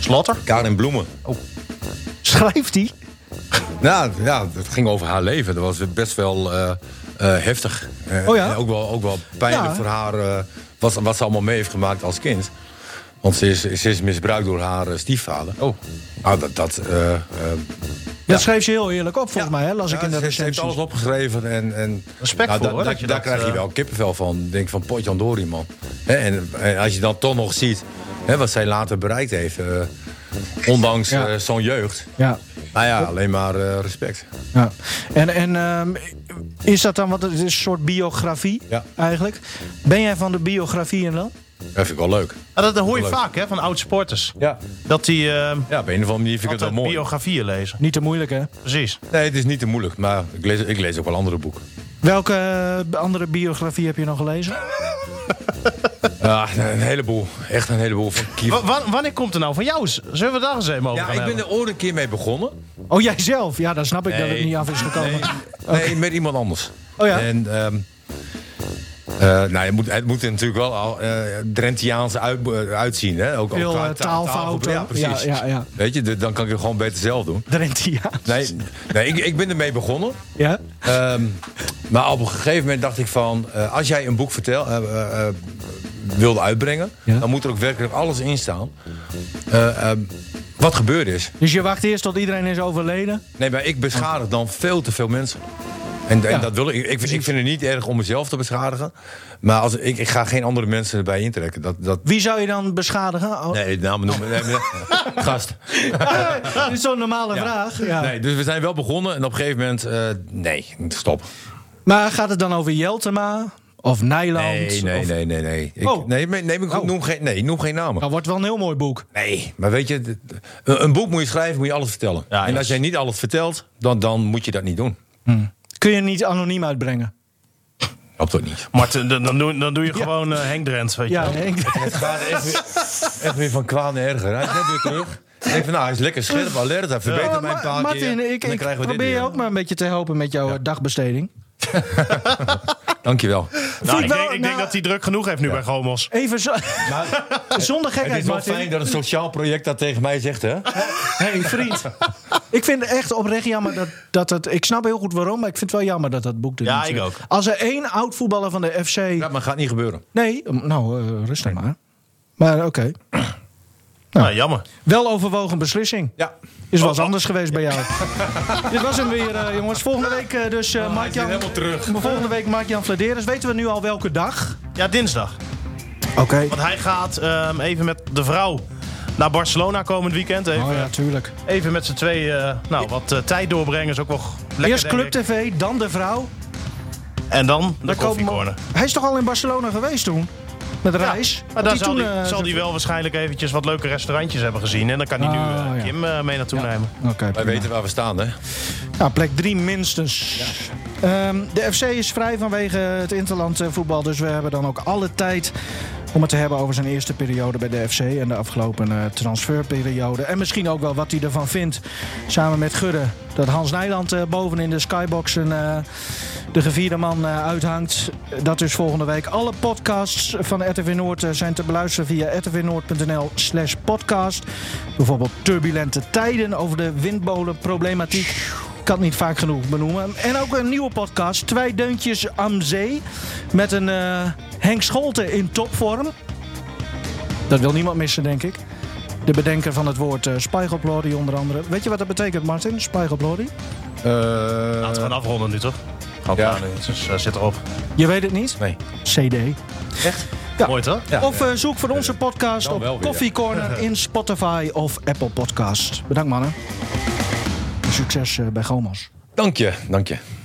D: Slotter?
B: Karin Bloemen.
A: Oh. schrijft hij.
B: Nou ja, het ging over haar leven. Dat was best wel eh, eh, heftig. Eh,
A: Oh ja?
B: En ook wel, ook wel pijnlijk
A: Ja.
B: voor haar, eh, wat, ze- wat ze allemaal mee heeft gemaakt als kind. Want ze is, ze is misbruikt door haar eh, stiefvader. Oh. Nou, dat... dat eh, eh,
A: Dat schreef ze heel eerlijk op, volgens mij, hè? las ik in de
B: ja, ze- ze heeft alles
A: recensie.
B: opgeschreven en... en
D: Respect voor,
B: daar-
D: hoor,
B: daar-
D: dat je
B: Daar
D: dat,
B: krijg je
D: eh,
B: wel kippenvel van. Denk van, potjandori, man. Hè, en, en als je dan toch nog ziet hè, wat zij later bereikt heeft... eh, ondanks
A: Ja.
B: eh, zo'n jeugd.
A: Ja.
B: Nou ja, alleen maar eh, respect.
A: Ja. En, en ehm, is dat dan, want het is een soort biografie
B: Ja.
A: eigenlijk. Ben jij van de biografieën dan?
B: Dat vind ik wel leuk.
D: Ah, dat, dat hoor je
B: Leuk.
D: vaak hè, van oud-sporters.
B: Ja.
D: Dat die eh
B: Ja, op een of andere manier vind ik het wel
D: altijd
B: mooi.
D: biografieën lezen.
A: Niet te moeilijk, hè?
D: Precies.
B: Nee, het is niet te moeilijk, maar ik lees, ik lees ook wel andere boeken.
A: Welke eh, andere biografie heb je nog gelezen?
B: Ja, een heleboel. Echt een heleboel. Van Kier.
D: Wa- wa- wanneer komt er nou van jou? Z- Zullen we daar eens even over
B: Ja,
D: gaan
B: ik ben
D: hebben?
B: er ooit een keer mee begonnen.
A: Oh, jijzelf? Ja, dan snap ik dat het
B: Nee.
A: niet af is gekomen.
B: Nee, nee, met iemand anders.
A: Oh ja.
B: En, ehm, eh, nou, het moet, het moet er natuurlijk wel al, eh, Drentiaans uit, eh, uitzien. Hè? Ook, ook
A: Veel,
B: qua
A: eh,
B: ta-
A: taalfouten.
B: Ja, precies.
A: Ja, ja, ja. [laughs]
B: Weet je, de- dan kan ik het gewoon beter zelf doen.
A: Drentiaans.
B: Nee, nee ik, ik ben ermee begonnen.
A: Ja?
B: Ehm, maar op een gegeven moment dacht ik van... eh, als jij een boek vertel, eh, eh, eh, wilde uitbrengen...
A: Ja.
B: dan moet er ook werkelijk alles in staan. Eh, ehm, wat gebeurd is.
A: Dus je wacht eerst tot iedereen is overleden?
B: Nee, maar ik beschadig dan veel te veel mensen. En, en
A: Ja.
B: dat wil ik. Ik, ik vind het niet erg om mezelf te beschadigen. Maar als, ik, ik ga geen andere mensen erbij intrekken. Dat, dat,
A: Wie zou je dan beschadigen? [laughs] Oh,
B: nee, namen noemen. nee, maar- gast.
A: Dit is zo'n normale
B: Ja.
A: vraag. Ja.
B: Nee, dus we zijn wel begonnen. En op een gegeven moment, eh, nee, stop.
A: Oh, Maar gaat het dan over Jeltema of Nijland?
B: Nee, nee,
A: of...
B: nee, nee. nee. Ik,
A: Oh.
B: nee, nee, nee, ik
A: Oh.
B: noem geen, nee, ik noem geen namen.
A: Dat wordt wel een heel mooi boek.
B: Nee, maar weet je, d- een een boek moet je schrijven, moet je alles vertellen.
D: Ja,
B: en
D: ja.
B: als jij niet alles vertelt, dan, dan moet je dat niet doen.
A: Kun je niet anoniem uitbrengen?
B: Klopt toch niet?
D: Marten, dan, dan, doe, dan doe je gewoon eh, Henk Drent. Weet
A: Ja,
D: je. wel.
A: nee, ik-
B: Het gaat echt weer, echt weer van kwaad naar erger. Hij is net weer terug. Ik denk van, nou, hij is lekker scherp, alert. Hij verbetert
A: Oh,
B: mij een
A: Ma-
B: paar keer.
A: Martin,
B: En
A: ik,
B: dan
A: ik
B: krijgen we dit
A: probeer je
B: weer.
A: ook maar een beetje te helpen met jouw eh, dagbesteding.
B: Dankjewel.
A: Vind
D: Nou,
A: ik
D: ik
A: wel-
D: denk, ik denk
A: nou-
D: dat hij druk genoeg heeft nu bij Gomos.
A: Even zo,
B: [laughs] Maar
A: [laughs] zonder
B: het is
A: gekheid,
B: wel
A: Martin.
B: fijn dat een sociaal project dat tegen mij zegt, hè?
A: hey,
B: [laughs]
A: vriend. ik vind het echt oprecht jammer dat, dat het... Ik snap heel goed waarom, maar ik vind het wel jammer dat dat boek er
D: Ja,
A: niet
D: ik
A: zit.
D: ook.
A: Als er één oud-voetballer van de FC...
B: Ja, maar gaat niet gebeuren.
A: Nee, nou, eh, rustig maar. Maar oké.
D: Nou, jammer.
A: Wel overwogen beslissing.
B: Ja.
A: Is
B: Oh.
A: wel eens anders geweest bij
B: [laughs]
A: jou. Dit was hem weer, eh, jongens. Volgende week eh, dus eh
B: Nou, hij is weer
A: Mark-Jan...
B: helemaal terug.
A: Volgende week Mark-Jan Vladeres. Weten we nu al welke dag?
D: Ja, dinsdag.
A: Oké.
D: Want hij gaat ehm, even met de vrouw naar Barcelona komend weekend. Even,
A: Oh ja, tuurlijk.
D: even met z'n twee eh, nou, wat eh, tijd doorbrengen is ook wel g- lekker.
A: Eerst
D: denk
A: Club
D: ik.
A: TV, dan de vrouw.
D: En dan de
A: Dan komen we-
D: koffiecorner.
A: Hij is toch al in Barcelona geweest toen? Met
D: Ja,
A: reis?
D: maar
A: Had
D: daar
A: hij
D: zal
A: toen,
D: hij
A: eh,
D: zal die wel waarschijnlijk eventjes wat leuke restaurantjes hebben gezien. En dan kan hij nu
A: Ah,
D: eh,
A: ja.
D: Kim eh, mee naartoe nemen.
A: Oké,
B: Wij
A: prima.
B: weten waar we staan, hè?
A: Nou, plek drie minstens. Ehm, de FC is vrij vanwege het interland eh, voetbal. Dus we hebben dan ook alle tijd om het te hebben over zijn eerste periode bij de FC. En de afgelopen eh, transferperiode. En misschien ook wel wat hij ervan vindt. Samen met Gudde. Dat Hans Nijland eh, boven in de skybox een, eh, de gevierde man eh, uithangt. Dat is volgende week. Alle podcasts van RTV Noord eh, zijn te beluisteren via rtvnoord.nl slash podcast. Bijvoorbeeld turbulente tijden over de windmolenproblematiek. Ik kan het niet vaak genoeg benoemen. En ook een nieuwe podcast, Twee Deuntjes am Zee. Met een eh, Henk Scholte in topvorm. Dat wil niemand missen, denk ik. De bedenker van het woord eh spiegelplorie onder andere. Weet je wat dat betekent, Martin? Spiegelplorie?
B: Eh,
D: Laten we gaan afronden nu toch? Half
B: Ja.
D: ja. Dus eh, zit erop.
A: Je weet het niet?
B: nee.
A: CD. Ja.
D: Mooi toch?
B: Ja.
A: Of eh, zoek voor onze podcast
B: Dan wel
A: op
B: weer.
A: Coffee
B: [laughs]
A: Corner in Spotify of Apple Podcast. Bedankt mannen. En Succes eh, bij Gomas.
B: Dank je, dank je.